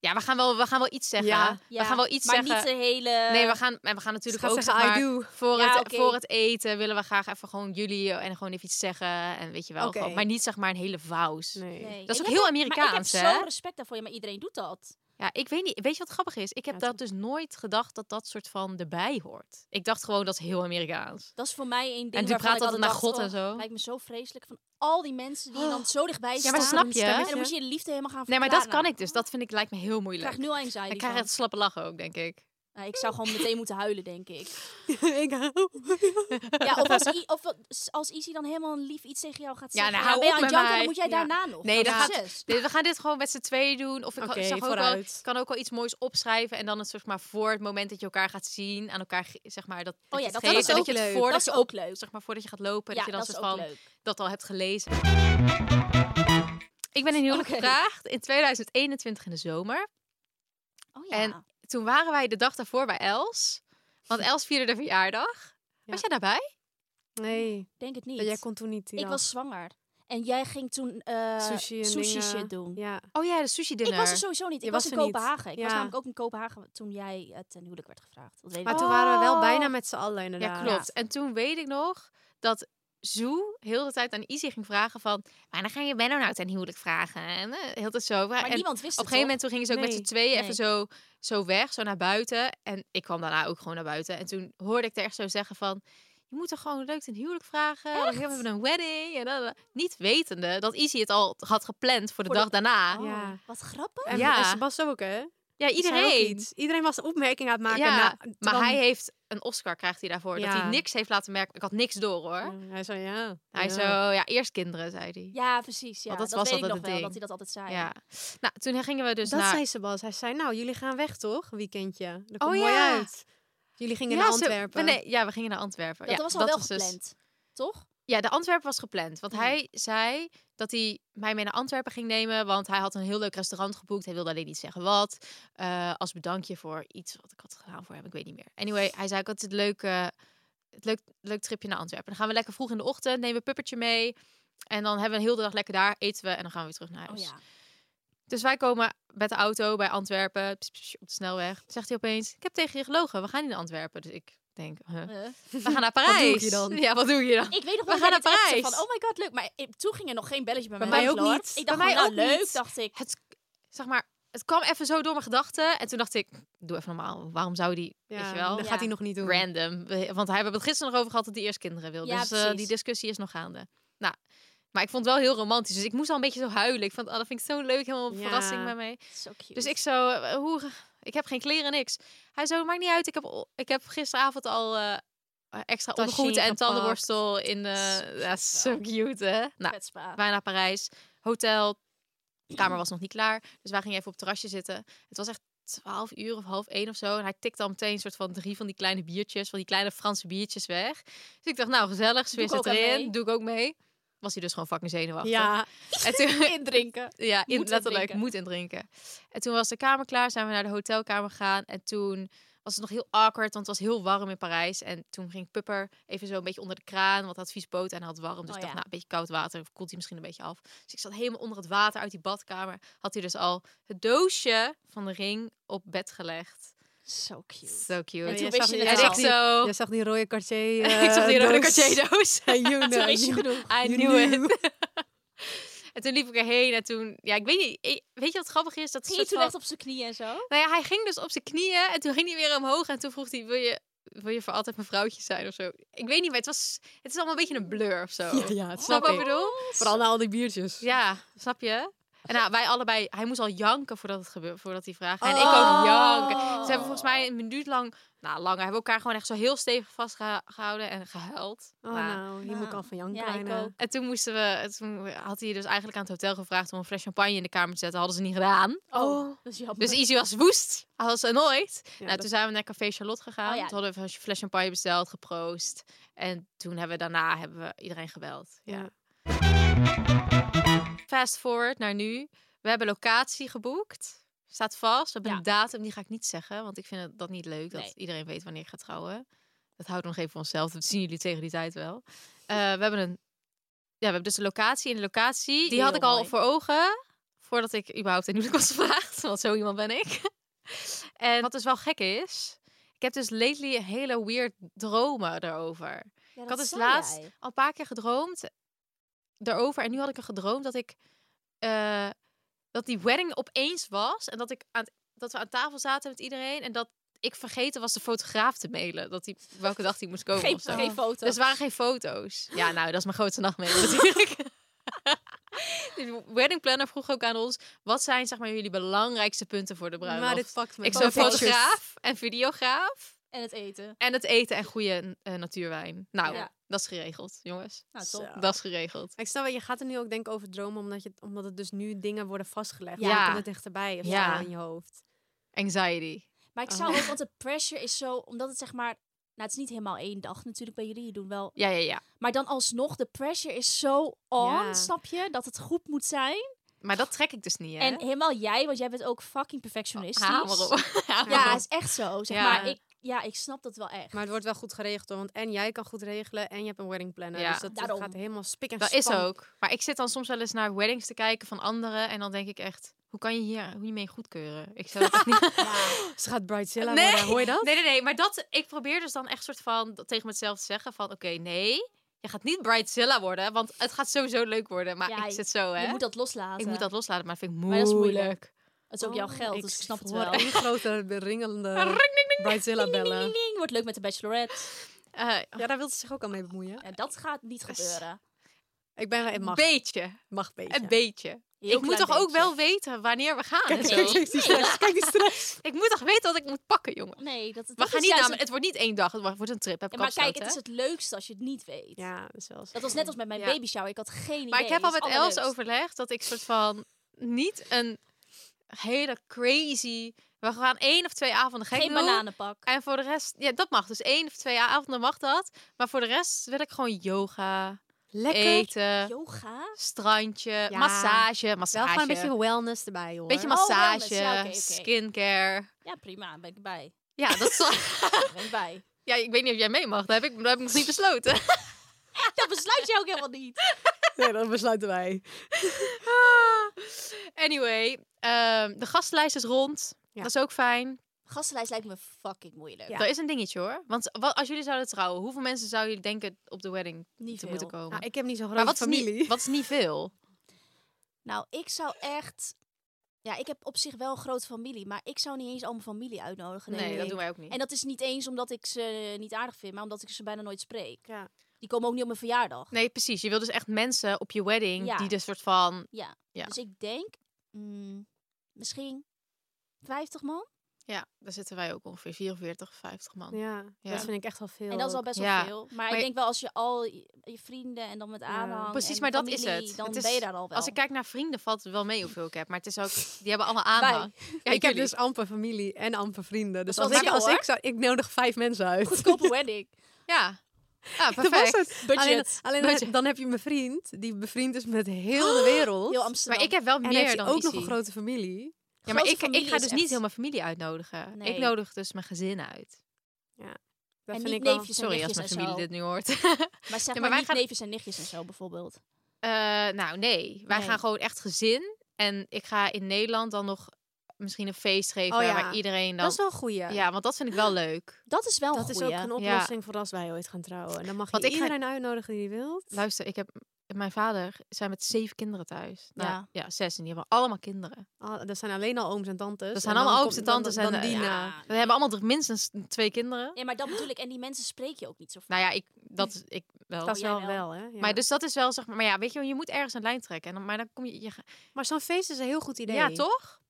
S1: Ja, we gaan wel, we gaan wel iets zeggen.
S3: Ja.
S2: Ja,
S1: We gaan wel iets
S2: maar
S1: zeggen.
S2: niet eh, de hele...
S1: Nee, we gaan, en we gaan
S3: Ze
S1: natuurlijk
S3: gaat
S1: ook
S3: zeggen,
S1: zeg maar,
S3: I do.
S1: voor,
S2: Ja,
S1: het,
S2: oké.
S1: voor het eten willen we graag even gewoon jullie en gewoon even iets zeggen. En weet je wel,
S3: Oké.
S1: gewoon- maar niet zeg maar een hele vous.
S3: Nee.
S2: Nee.
S1: Dat is
S2: Ik
S1: ook
S2: heb
S1: heel
S2: er- Maar
S1: Amerikaans,
S2: ik heb
S1: hè?
S2: zo respect daarvoor. Ja, maar iedereen doet dat.
S1: Ja, ik weet niet. Weet je wat grappig is? Ik heb
S3: Ja,
S1: dat dus nooit gedacht dat dat soort van erbij hoort. Ik dacht gewoon dat is heel Amerikaans.
S2: Dat is voor mij één ding
S1: En die
S2: waarvan
S1: praat
S2: ik
S1: altijd naar
S2: dacht,
S1: God en
S2: oh,
S1: zo.
S2: Lijkt me zo vreselijk van al die mensen die je dan zo dichtbij
S1: Ja,
S2: staan.
S1: maar snap je?
S2: En dan moet je je liefde helemaal gaan
S1: Nee, maar
S2: verklaren.
S1: dat kan ik dus. Dat vind ik lijkt me heel
S2: nou, Ik
S1: moeilijk.
S2: krijg nu al anxiety
S1: ik krijg
S2: van.
S1: het slappe lachen ook, denk ik.
S2: Nou, ik zou gewoon meteen moeten huilen, denk ik.
S3: ik hou.
S2: Ja, of als, I- of als- als Izzy dan helemaal een lief iets tegen jou gaat
S1: Ja,
S2: zeggen.
S1: nou,
S2: dan
S1: hou
S2: ben je
S1: op
S2: aan het
S1: met
S2: janken,
S1: mij.
S2: dan moet jij
S3: Ja.
S2: daarna nog. Oh,
S1: Nee,
S2: dat
S1: dat
S2: is
S1: gaat-
S2: zes.
S1: Nee, we gaan dit gewoon met z'n tweeën doen. Of ik
S3: Oké,
S1: zag ook wel,
S3: vooruit.
S1: ik kan ook wel iets moois opschrijven. En dan het, zeg maar, voor het moment dat je elkaar gaat zien. Aan elkaar, ge- zeg maar, dat, dat
S2: Oh ja,
S1: je het
S2: dat- dat
S1: geeft
S2: is
S1: en
S2: ook
S1: je het
S3: leuk.
S2: Dat
S1: voordat
S2: is
S1: je
S2: ook
S1: op,
S2: leuk.
S1: zeg maar, voordat je gaat
S2: Ja,
S1: lopen. dat je dan
S2: dat is
S1: soort
S2: ook
S1: van
S2: leuk.
S1: dat al hebt gelezen. Ik ben in huwelijk
S2: Oké.
S1: gevraagd in 2021 in de zomer.
S2: Oh ja.
S1: En toen waren wij de dag daarvoor bij Els. Want Els vierde de verjaardag.
S3: Ja.
S1: Was jij daarbij?
S3: Nee,
S2: denk het niet.
S3: jij kon toen niet. die
S2: ik
S3: dag.
S2: was zwanger. En jij ging toen eh,
S3: Sushi en
S2: sushi
S3: dingen.
S2: shit doen.
S3: Ja.
S1: Oh ja, de sushi
S2: Ik
S1: dinner.
S2: was er sowieso niet. Ik
S3: Je
S2: was,
S3: was
S2: in
S3: er niet.
S2: Kopenhagen. Ik was
S3: Ja.
S2: namelijk ook in Kopenhagen toen jij eh, ten huwelijk werd gevraagd. Dat weet ik
S3: Maar
S2: nog.
S3: toen waren we wel
S1: Oh.
S3: bijna met z'n allen inderdaad.
S1: Ja, klopt. En toen weet ik nog dat Zoe heel de tijd aan Izzy ging vragen van... Maar dan ga je Benno nou ten huwelijk vragen. En eh, heel de zo.
S2: maar
S1: en op een
S2: niemand wist het,
S1: gegeven moment toen gingen ze ook met
S3: Nee,
S1: z'n tweeën
S2: nee.
S1: even zo, zo weg, zo naar buiten. En ik kwam daarna ook gewoon naar buiten. En toen hoorde ik er echt zo zeggen van... Je moet er gewoon leuk ten huwelijk vragen. want We hebben een wedding. En dan, eh, niet wetende dat Izzy het al had gepland voor de
S2: Voor de-
S1: dag daarna.
S2: toch?
S3: Ja.
S2: Oh, Wat grappig.
S3: En,
S1: Ja.
S3: en Sebas ook, hè?
S1: Ja,
S3: Die zei ook
S1: iedereen.
S3: iets. Iedereen was opmerking aan het maken.
S1: Ja,
S3: na-
S1: Maar
S3: terwijl-
S1: hij heeft een Oscar, krijgt hij daarvoor. Dat
S3: Ja.
S1: hij niks heeft laten merken. Ik had niks door hoor.
S3: Ja, hij zei ja.
S1: Hij
S3: ja.
S1: zo, ja, eerst kinderen, zei hij.
S2: Ja, precies. Ja.
S1: Want
S2: dat
S1: dat was
S2: weet ik
S1: altijd
S2: nog
S1: het
S2: wel,
S1: ding.
S2: dat hij dat altijd zei.
S1: Ja. Nou, toen gingen we dus
S3: dat
S1: naar...
S3: zei Sebas. Hij zei, nou, jullie gaan weg toch? Een weekendje. Dat komt
S1: Oh,
S3: mooi
S1: ja.
S3: uit. Jullie gingen
S1: Ja,
S3: naar
S1: ze-
S3: Antwerpen.
S1: maar nee, ja, we gingen naar Antwerpen.
S2: Dat
S1: ja,
S2: was al wel
S1: dus-
S2: gepland. Toch?
S1: ja, de Antwerpen was gepland. Want
S3: Mhm.
S2: Mm.
S1: hij zei dat hij mij mee naar Antwerpen ging nemen. Want hij had een heel leuk restaurant geboekt. Hij wilde alleen niet zeggen wat. eh, als bedankje voor iets wat ik had gedaan voor hem. Ik weet niet meer. Anyway, hij zei ook altijd het leuke... het leuk, leuk tripje naar Antwerpen. Dan gaan we lekker vroeg in de ochtend, nemen we puppertje mee. En dan hebben we een hele dag lekker daar, eten we en dan gaan we weer terug
S2: Oh
S1: naar huis.
S2: ja.
S1: Dus wij komen met de auto bij Antwerpen, pss, pss, op de snelweg. Zegt hij opeens, ik heb tegen je gelogen, we gaan niet naar Antwerpen. Dus ik denk, huh,
S2: Eh.
S1: we gaan naar
S3: doe ik
S1: Parijs.
S3: hier dan?
S1: Ja, wat doe je dan?
S2: Ik weet nog
S1: We
S2: wel
S1: gaan
S2: dat
S1: naar
S2: jij dit appte
S1: Parijs.
S2: van, oh my god, leuk. Maar eh, toen ging er nog geen belletje bij
S3: Bij
S2: mij
S3: mij
S2: langs,
S3: ook
S2: hoor.
S3: niet.
S2: Ik
S1: Bij
S2: dacht
S1: mij
S2: gewoon,
S1: ook
S2: nou, leuk,
S1: niet.
S2: dacht ik.
S1: Het, zeg maar, het kwam even zo door mijn gedachten. En toen dacht ik, doe even normaal. Waarom zou die,
S3: Ja,
S1: weet je wel,
S3: Dat
S2: Ja.
S3: gaat hij nog niet doen.
S1: random. We- Want hij hebben het gisteren nog over gehad dat hij eerst kinderen wil.
S2: Ja,
S1: dus eh,
S2: precies.
S1: die discussie is nog gaande. Nou, maar ik vond het wel heel romantisch. Dus ik moest al een beetje zo huilen. Ik vond, oh, dat vind ik zo leuk. Helemaal een
S3: Ja.
S1: verrassing bij mij.
S2: Zo cute.
S1: Dus ik zo, eh, hoe, ik heb geen kleren, niks. Hij zo, maakt niet uit. Ik heb, al- ik heb gisteravond al eh, extra
S3: Tasje
S1: ondergoed en
S3: ingepakt.
S1: tandenborstel in.
S2: Zo
S1: eh ja,
S2: cute
S1: zo
S2: wel.
S1: cute, hè? Nou,
S2: Vet spa.
S1: wij naar Parijs, hotel. De kamer
S2: Mhm.
S1: was nog niet klaar. Dus wij gingen even op het terrasje zitten. Het was echt 12 uur of half één of zo. En hij tikte al meteen een soort van drie van die kleine biertjes, van die kleine Franse biertjes weg. Dus ik dacht, nou gezellig, sfeer
S2: ik ook
S1: zit
S2: aan
S1: erin.
S2: mee.
S1: Doe ik ook mee. Was hij dus gewoon fucking zenuwachtig.
S3: Ja,
S1: En toen,
S2: Indrinken.
S1: ja, in,
S2: Moet
S1: letterlijk,
S2: indrinken.
S1: moet indrinken. En toen was de kamer klaar, zijn we naar de hotelkamer gegaan. En toen was het nog heel awkward, want het was heel warm in Parijs. En toen ging Pupper even zo een beetje onder de kraan, want hij had vies poten en hij had warm. Dus
S2: Oh
S1: ik
S2: ja.
S1: dacht, nou, een beetje koud water, koelt hij misschien een beetje af. Dus ik zat helemaal onder het water uit die badkamer. Had hij dus al het doosje van de ring op bed gelegd.
S2: Zo cute.
S1: Zo cute.
S2: En toen
S3: jij
S2: wist
S3: zag
S2: je
S3: niet-
S2: het
S3: jij
S1: En
S2: al.
S1: ik zo...
S3: je zag die rode Cartier
S1: ik zag die
S3: eh,
S1: rode
S3: doos.
S1: doos.
S3: En you know,
S1: wist je
S3: you-
S1: I
S3: you
S1: knew it.
S3: knew.
S1: En toen liep ik erheen en toen... Ja, ik weet niet... ik- Weet je wat grappig is? Dat
S2: Ging je
S1: soort
S2: toen
S1: van-
S2: echt op zijn knieën en zo?
S1: Nou ja, hij ging dus op zijn knieën en toen ging hij weer omhoog en toen vroeg hij, wil je, wil je voor altijd mijn vrouwtje zijn of zo? Ik weet niet, maar het, was, het is allemaal een beetje een blur of zo.
S3: Ja, ja, het
S1: snap
S3: snap
S1: je wat ik
S3: ik.
S1: bedoel?
S3: Vooral na al die biertjes.
S1: Ja, snap je? En nou, wij allebei, hij moest al janken voordat het gebeurde, voordat die vraag. En ik
S2: Oh.
S1: ook janken. Ze hebben volgens mij een minuut lang, nou langer, hebben elkaar gewoon echt zo heel stevig vastgehouden en gehuild.
S3: Oh,
S1: Nou,
S3: nou, hier moet ik al van janken.
S2: Ja, ik
S3: bijna.
S2: ook.
S1: En toen moesten we, toen had hij dus eigenlijk aan het hotel gevraagd om een fles champagne in de kamer te zetten. Hadden ze niet gedaan.
S2: Oh, dat is jammer.
S1: Dus Izzy was woest, als nooit.
S3: Ja,
S1: nou,
S3: dat-
S1: toen zijn we naar Café Charlotte gegaan.
S2: Oh ja.
S1: Toen hadden we een fles champagne besteld, geproost. En toen hebben we daarna hebben we iedereen gebeld. Ja.
S3: Ja.
S1: Fast forward naar nu. We hebben locatie geboekt. Staat vast. We hebben
S2: Ja.
S1: een datum, die ga ik niet zeggen. Want ik vind het- dat niet leuk, dat
S2: Nee.
S1: iedereen weet wanneer ik ga trouwen. Dat houdt nog even voor onszelf. Dat zien jullie tegen die tijd wel. Eh, we hebben een... Ja, we hebben dus een locatie. En de locatie, die
S2: Heel
S1: had ik al
S2: mooi.
S1: voor ogen. Voordat ik überhaupt een huwelijk was gevraagd. Want zo iemand ben ik. En wat dus wel gek is... Ik heb dus lately hele weird dromen erover
S2: Ja, dat
S1: had dus
S2: zei
S1: laatst-
S2: jij.
S1: al een paar keer gedroomd daarover. En nu had ik er gedroomd dat ik eh, dat die wedding opeens was. En dat ik aan het- dat we aan tafel zaten met iedereen. En dat ik vergeten was de fotograaf te mailen. Dat die, welke dag die moest komen.
S2: Geen,
S1: of zo.
S2: geen foto.
S1: Oh, Dus er waren geen foto's. Ja, nou, dat is mijn grootste nachtmerrie natuurlijk. Die wedding planner vroeg ook aan ons: wat zijn zeg maar jullie belangrijkste punten voor de bruiloft?
S3: Maar dit Oh, pakt me.
S1: ik
S3: wel.
S1: zo'n
S3: Pictures.
S1: fotograaf en videograaf
S2: En het eten.
S1: en het eten en goede eh, natuurwijn. Nou,
S2: Ja.
S1: dat is geregeld, jongens.
S2: Nou, top.
S3: Zo.
S1: Dat is geregeld.
S3: Ik snap, wel, je gaat er nu ook denken over dromen, omdat, je, omdat het dus nu dingen worden vastgelegd.
S1: Ja.
S3: Ja. Dan komt het dichterbij of zo
S1: Ja.
S3: in je hoofd.
S1: Anxiety.
S2: Maar ik
S1: Oh.
S2: zou ook, want de pressure is zo, omdat het zeg maar, nou het is niet helemaal één dag natuurlijk bij jullie, je doet wel.
S1: Ja, ja, ja.
S2: Maar dan alsnog, de pressure is zo on,
S3: Ja.
S2: snap je? Dat het goed moet zijn.
S1: Maar dat trek ik dus niet, hè?
S2: En helemaal jij, want jij bent ook fucking perfectionistisch.
S1: Hamer op. Hamer
S2: Ja,
S1: op.
S2: is echt zo, zeg
S1: Ah, Ja.
S2: maar. Ik, ja, ik snap dat wel echt.
S3: Maar het wordt wel goed geregeld, hoor, want en jij kan goed regelen en je hebt een wedding planner.
S1: Ja.
S3: Dus dat, dat
S2: Daarom.
S3: gaat helemaal spik en
S1: Dat is
S3: span.
S1: ook. Maar ik zit dan soms wel eens naar weddings te kijken van anderen. En dan denk ik echt, hoe kan je hier hoe je mee goedkeuren? Ik zou dat echt niet...
S3: Ze gaat Bridezilla
S1: Nee.
S3: worden, hoor je dat?
S1: Nee, nee, nee. Maar dat, ik probeer dus dan echt soort van dat tegen mezelf te zeggen van... Oké, nee, je gaat niet Bridezilla worden. Want het gaat sowieso leuk worden. Maar
S2: Ja,
S1: ik zit zo, hè?
S2: Je moet dat loslaten.
S1: ik moet dat loslaten, maar dat vind ik
S2: Maar dat is
S1: moeilijk.
S2: moeilijk. Het is ook jouw
S3: Oh,
S2: geld, dus ik snap het
S3: hoor
S2: wel.
S3: één grote ringelende Bridezilla bellen.
S2: Ding, ding, Wordt leuk met de bachelorette.
S1: Eh,
S3: Ja, daar wil ze zich ook al mee bemoeien.
S2: Ja, dat gaat niet gebeuren.
S3: Ik ben wel, het
S1: een
S3: mag,
S1: beetje.
S3: mag beetje.
S1: Een beetje.
S2: Heel
S1: ik moet
S2: klein
S1: toch ook
S2: beetje.
S1: wel weten wanneer we gaan en
S3: Kijk,
S1: zo.
S3: kijk, kijk die stress, kijk die stress.
S1: Ik moet toch weten wat ik moet pakken, jongen.
S2: Nee, dat, dat
S1: We gaan
S2: is
S1: niet
S2: juist
S1: naar, het wordt niet één dag, het wordt een trip. Heb
S2: Ja,
S1: ik
S2: maar kijk,
S1: afgesloten,
S2: het is
S1: hè?
S2: het leukste als je het niet weet.
S3: Ja, dat is wel zo.
S2: Dat was net als met mijn
S1: Ja.
S2: baby shower. Ik had geen idee.
S1: Maar ik heb al
S2: Het
S1: met
S2: is
S1: Els
S2: allerleukst.
S1: overlegd dat ik soort van niet een hele crazy. We gaan één of twee avonden gek
S2: Geen
S1: doen.
S2: bananenpak.
S1: En voor de rest, ja, dat mag. Dus één of twee avonden mag dat. Maar voor de rest wil ik gewoon yoga, eten,
S2: Yoga?
S1: strandje,
S3: Ja.
S1: massage, massage.
S3: Wel gewoon een beetje wellness erbij, hoor.
S1: Beetje
S2: Oh,
S1: massage,
S2: wellness. Ja, oké, oké.
S1: skincare.
S2: Ja, prima. Ben ik bij.
S1: Ja, dat zal...
S2: Ben ik bij.
S1: ja, ik weet niet of jij mee mag. Dat heb ik, dat heb ik nog niet besloten.
S2: Dat besluit je ook helemaal niet.
S3: Nee, dat besluiten wij.
S1: Anyway, ehm, de gastenlijst is rond.
S3: Ja.
S1: Dat is ook fijn.
S2: Gastenlijst lijkt me fucking moeilijk.
S3: Ja.
S1: Dat is een dingetje hoor. Want wa- als jullie zouden trouwen, hoeveel mensen zouden jullie denken op de wedding
S2: Niet
S1: te
S2: veel.
S1: moeten komen?
S3: Nou, ik heb niet zo'n
S1: Oh. maar
S3: grote
S1: wat is,
S3: familie.
S1: niet, wat is niet veel?
S2: Nou, ik zou echt... Ja, ik heb op zich wel een grote familie, maar ik zou niet eens al mijn familie uitnodigen.
S1: Nee,
S2: denk
S1: dat
S2: ik.
S1: doen wij ook niet.
S2: En dat is niet eens omdat ik ze niet aardig vind, maar omdat ik ze bijna nooit spreek.
S3: Ja.
S2: Die komen ook niet op mijn verjaardag.
S1: Nee, precies. Je wil dus echt mensen op je wedding
S2: Ja.
S1: die dus soort van...
S2: Ja.
S1: Ja.
S2: Dus ik denk mm, misschien 50 man.
S1: Ja, daar zitten wij ook ongeveer 44, 50 man.
S3: Ja,
S1: Ja.
S3: dat vind ik echt wel veel.
S2: En dat is al
S3: ook.
S2: best wel
S1: Ja.
S2: veel. Maar, ik
S1: je-
S2: denk wel als je al je je vrienden en dan met aanhang
S1: Precies,
S2: en
S1: maar dat is
S2: familie,
S1: het.
S2: Dan
S1: Het is-
S2: ben je daar al wel.
S1: Als ik kijk naar vrienden valt het wel mee hoeveel ik heb. Maar het is ook... Die hebben allemaal aanhang. Ja,
S3: ik heb
S1: jullie.
S3: dus amper familie en amper vrienden. Dus
S2: Dat
S3: als,
S2: is wel
S3: ik, als
S2: chill,
S3: ik zou... Ik nodig vijf mensen uit.
S2: Goedkope wedding.
S1: Ja. Ja,
S3: Dat was
S1: perfect.
S3: het. Alleen, alleen dan, heb- dan heb je mijn vriend, die bevriend is met heel de wereld.
S2: Heel Amsterdam.
S1: Maar ik heb wel
S3: en
S1: meer
S3: heeft
S1: dan
S3: ook nog
S1: Izzy.
S3: een grote familie.
S1: Ja, maar
S2: Grote
S1: ik, ik
S2: familie
S1: ga
S2: is
S1: dus
S2: echt-
S1: niet helemaal familie uitnodigen.
S2: Nee.
S1: Ik nodig dus mijn gezin uit.
S3: Dat
S2: en
S3: vind
S2: niet
S3: ik wel-
S2: neefjes en
S1: Sorry als
S2: nichtjes
S1: mijn
S2: en
S1: familie
S2: zo.
S1: dit nu hoort.
S2: Maar zeg
S1: Ja, maar
S2: maar,
S1: wij
S2: niet
S1: gaan-
S2: neefjes en nichtjes en zo bijvoorbeeld.
S1: Eh, nou, nee. Wij
S2: Nee.
S1: gaan gewoon echt gezin. En ik ga in Nederland dan nog misschien een feest geven
S3: Oh, ja.
S1: waar iedereen dan...
S3: Dat is wel een goeie.
S1: Ja, want dat vind ik wel leuk.
S2: Dat is wel
S3: dat
S2: een
S3: is ook
S2: goeie.
S3: een
S1: Ja.
S3: oplossing voor als wij ooit gaan trouwen. Dan mag je
S1: Want ik ga-
S3: iedereen uitnodigen die je wilt.
S1: Luister, ik heb mijn vader zijn met zeven kinderen thuis. Nou,
S2: Ja.
S1: ja. zes. En die hebben allemaal kinderen.
S3: Ah, dat zijn alleen al ooms en tantes.
S1: Dat zijn
S3: En dan
S1: allemaal
S3: komt-
S1: ooms en
S3: dan-
S1: tantes en,
S3: dan
S1: eh,
S3: die
S1: ja.
S3: na.
S1: We hebben allemaal toch minstens twee kinderen.
S2: Nee, maar dat bedoel ik. En die mensen spreek je ook niet zo vaak.
S1: Nou ja, ik, dat is, ik wel.
S3: Dat is
S2: jij
S3: wel
S2: wel.
S3: wel, hè? Ja.
S1: Maar dus dat is wel, zeg maar, maar ja, weet je, wel, je moet ergens een lijn trekken. En dan, maar dan kom je, je ga-
S3: Maar zo'n feest is een heel goed idee.
S1: ja, toch?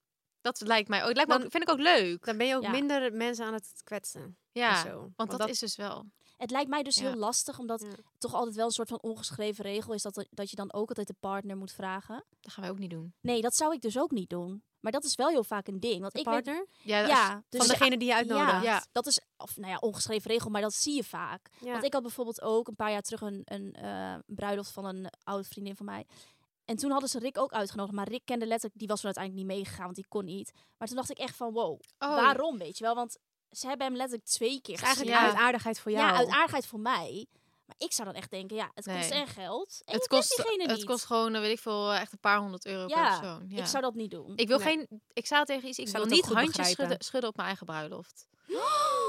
S1: Dat lijkt mij ook, lijkt me
S3: Dan-
S1: ook, vind ik ook leuk.
S3: Dan ben je ook
S2: Ja.
S3: minder mensen aan het kwetsen.
S1: ja,
S3: en zo. Want,
S1: want dat, is dus wel.
S2: Het lijkt mij dus
S1: Ja.
S2: heel lastig, omdat
S3: Ja.
S2: toch altijd wel een soort van ongeschreven regel is dat, dat je dan ook altijd de partner moet vragen.
S1: Dat gaan wij ook niet doen.
S2: Nee, dat zou ik dus ook niet doen. Maar dat is wel heel vaak een ding. Want ik weet-
S3: partner
S1: Ja, als-
S2: ja, dus
S3: van
S2: ja,
S3: degene die je uitnodigt.
S2: Ja,
S1: Ja.
S2: dat is, of nou ja, ongeschreven regel, maar dat zie je vaak.
S3: Ja.
S2: Want ik had bijvoorbeeld ook een paar jaar terug een, een eh, bruiloft van een oude vriendin van mij. En toen hadden ze Rick ook uitgenodigd. Maar Rick kende letterlijk, die was er uiteindelijk niet meegegaan, want die kon niet. Maar toen dacht ik echt van, wow,
S1: oh,
S2: waarom, weet je wel? Want ze hebben hem letterlijk twee keer
S3: is eigenlijk
S2: gezien.
S1: Ja.
S3: uit aardigheid voor jou.
S2: Ja, uit aardigheid voor mij. Maar ik zou dan echt denken, ja, het kost
S1: Nee.
S2: en geld. En
S1: het
S2: je kent
S1: kost,
S2: diegene
S1: het
S2: niet.
S1: kost gewoon, eh, weet ik veel, eh, echt een paar honderd euro
S2: Ja,
S1: per persoon. Ja.
S2: Ik zou dat niet doen.
S1: Ik wil
S3: Nee.
S1: geen. Ik zou tegen iets. Ik,
S3: Ik
S1: wil
S3: zou het ook
S1: niet
S3: goed
S1: handjes
S3: begrijpen.
S1: schudden, schudden op mijn eigen bruiloft.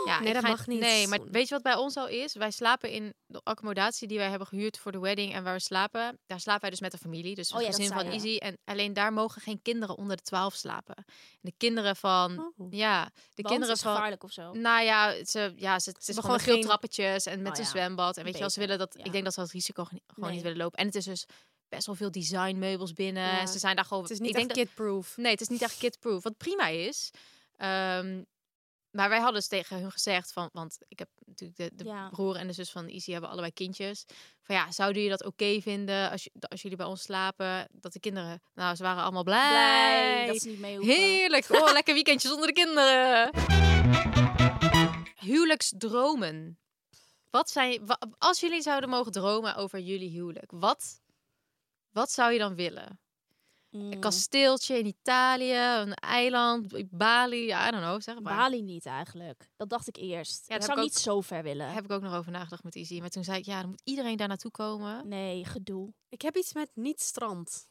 S1: Ja,
S3: Nee,
S1: ik
S3: dat
S1: ga-
S3: mag niet.
S1: Nee, maar weet je wat bij ons al is? Wij slapen in de accommodatie die wij hebben gehuurd voor de wedding en waar we slapen. Daar slapen wij dus met de familie, dus
S2: Oh
S1: het
S2: ja, dat
S1: gezin
S2: zei
S1: van
S2: je.
S1: Izzy. En alleen daar mogen geen kinderen onder de 12 slapen. En de kinderen van,
S3: Oh.
S1: ja, de
S2: Want
S1: kinderen
S2: is
S1: van.
S2: gevaarlijk of zo.
S1: Nou ja, ze, ja, ze, het is
S3: hebben
S1: gewoon met
S3: gewoon
S1: veel
S3: geen-
S1: trappetjes en met
S2: Oh
S1: een
S2: ja,
S1: zwembad. En weet je wel, ze
S2: beter,
S1: willen dat.
S2: ja.
S1: Ik denk dat ze dat risico gewoon niet- gewoon
S2: Nee.
S1: niet willen lopen. En het is dus best wel veel designmeubels binnen.
S3: Ja.
S1: En Ze zijn daar gewoon.
S3: Het is niet
S1: ik denk
S3: echt
S1: dat-
S3: kidproof.
S1: Nee, het is niet echt kidproof. Wat prima is. Ehm, maar wij hadden dus tegen hun gezegd van, want ik heb natuurlijk de, de
S2: Ja.
S1: broer en de zus van Izzy hebben allebei kindjes. Van ja, zouden jullie dat oké vinden als, je- als jullie bij ons slapen? Dat de kinderen, nou, ze waren allemaal blij.
S2: Blij dat ze niet mee hoeven.
S1: Heerlijk. Oh, lekker weekendje zonder de kinderen. Huwelijksdromen. Wat zijn, wa- als jullie zouden mogen dromen over jullie huwelijk, wat, wat zou je dan willen? Een
S2: Mm.
S1: kasteeltje in Italië, een eiland, Bali, ja, I don't know, zeg maar.
S2: Bali niet eigenlijk. Dat dacht ik eerst.
S1: dat
S2: ik
S1: heb
S2: zou
S1: ik
S2: niet zo ver willen.
S1: Daar heb ik ook nog over nagedacht met Izzy. Maar toen zei ik, ja, dan moet iedereen daar naartoe komen.
S2: Nee, gedoe.
S3: Ik heb iets met niet strand.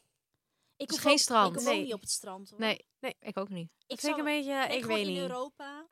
S2: Ik
S1: Dus
S2: hoef
S1: geen
S2: ook-
S1: strand?
S2: Ik woon
S3: Nee.
S2: niet op het strand. Hoor.
S1: Nee,
S3: Nee.
S1: ik ook niet.
S2: ik
S3: Ik vind ik
S2: zou-
S3: een beetje,
S2: denk
S3: ik
S2: gewoon
S3: weet
S2: in
S3: niet.
S2: Europa.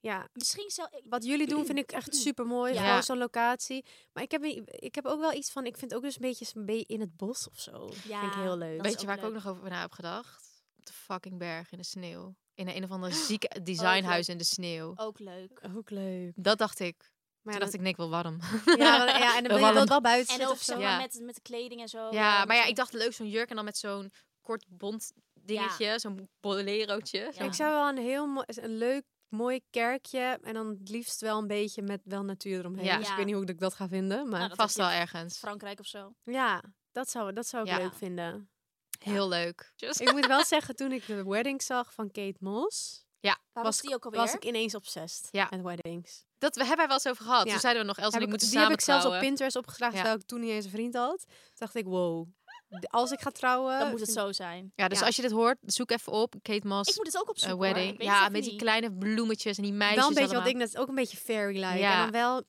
S3: Ja,
S2: Misschien zou ik.
S3: wat jullie doen vind ik echt super mooi.
S1: Ja.
S3: Gewoon zo'n locatie. Maar ik heb, ik heb ook wel iets van, ik vind ook dus een beetje een beetje in het bos of zo.
S2: Ja,
S3: vind ik heel leuk.
S2: dat is
S1: Weet je waar
S2: ook
S1: ik ook
S2: leuk.
S1: nog over na heb gedacht? Op de fucking berg in de sneeuw. In een, een of ander
S2: Oh,
S1: zieke designhuis in de sneeuw.
S2: Ook leuk.
S3: Ook leuk.
S1: Dat dacht ik.
S3: Maar
S1: toen
S3: ja,
S1: dacht
S3: dat-
S1: ik, nee, ik wil warm.
S3: ja, want- ja, en dan wil je wel,
S1: warm.
S3: wel buiten
S2: En
S3: zitten
S2: ook
S3: of zo.
S2: zeg
S1: Ja.
S2: maar met, met de kleding en zo.
S1: ja,
S3: Oh,
S1: maar ja,
S2: misschien-
S1: ik dacht leuk zo'n jurk en dan met zo'n kort bont dingetje. Zo'n bolerootje.
S2: Ja.
S3: Ik zou wel een heel mooi, een leuk, mooi kerkje. En dan het liefst wel een beetje met wel natuur eromheen.
S1: Ja.
S3: Dus ik
S2: Ja.
S3: weet niet hoe ik dat ga vinden. Maar
S2: Nou, dat
S1: Vast
S2: heb
S1: wel
S2: je in
S1: ergens.
S2: Frankrijk of zo.
S3: ja, dat zou, dat zou ik
S1: Ja.
S3: leuk vinden.
S1: Heel leuk. Just-
S3: Ik moet wel zeggen, toen ik de wedding zag van Kate Moss,
S2: Waar was,
S3: Was-
S2: die ook alweer?
S3: was ik ineens obsessed
S1: Ja.
S3: met weddings.
S1: Dat we, hebben wij wel eens over gehad.
S3: Ja.
S1: Toen zeiden we nog, Els en
S3: Heb
S1: ik
S3: ik-
S1: moeten
S3: die
S1: samen
S3: heb ik zelfs op
S1: trouwen.
S3: Pinterest opgedragen,
S1: Ja.
S3: terwijl ik toen niet eens een vriend had. Toen dacht ik, wow, de- als ik ga trouwen...
S2: Dan moet het
S3: vind-
S2: zo zijn.
S1: Ja, dus
S3: Ja.
S1: als je dit hoort, zoek even op. Kate Moss,
S2: Ik moet het ook op
S1: eh,
S2: zoek hoor.
S1: wedding.
S2: Ik weet het
S1: ja,
S2: even
S1: met die
S2: niet.
S1: kleine bloemetjes en die meisjes
S3: Wel een beetje wat
S1: allemaal.
S3: ik net, ook een beetje fairy-like.
S1: Ja.
S3: En dan wel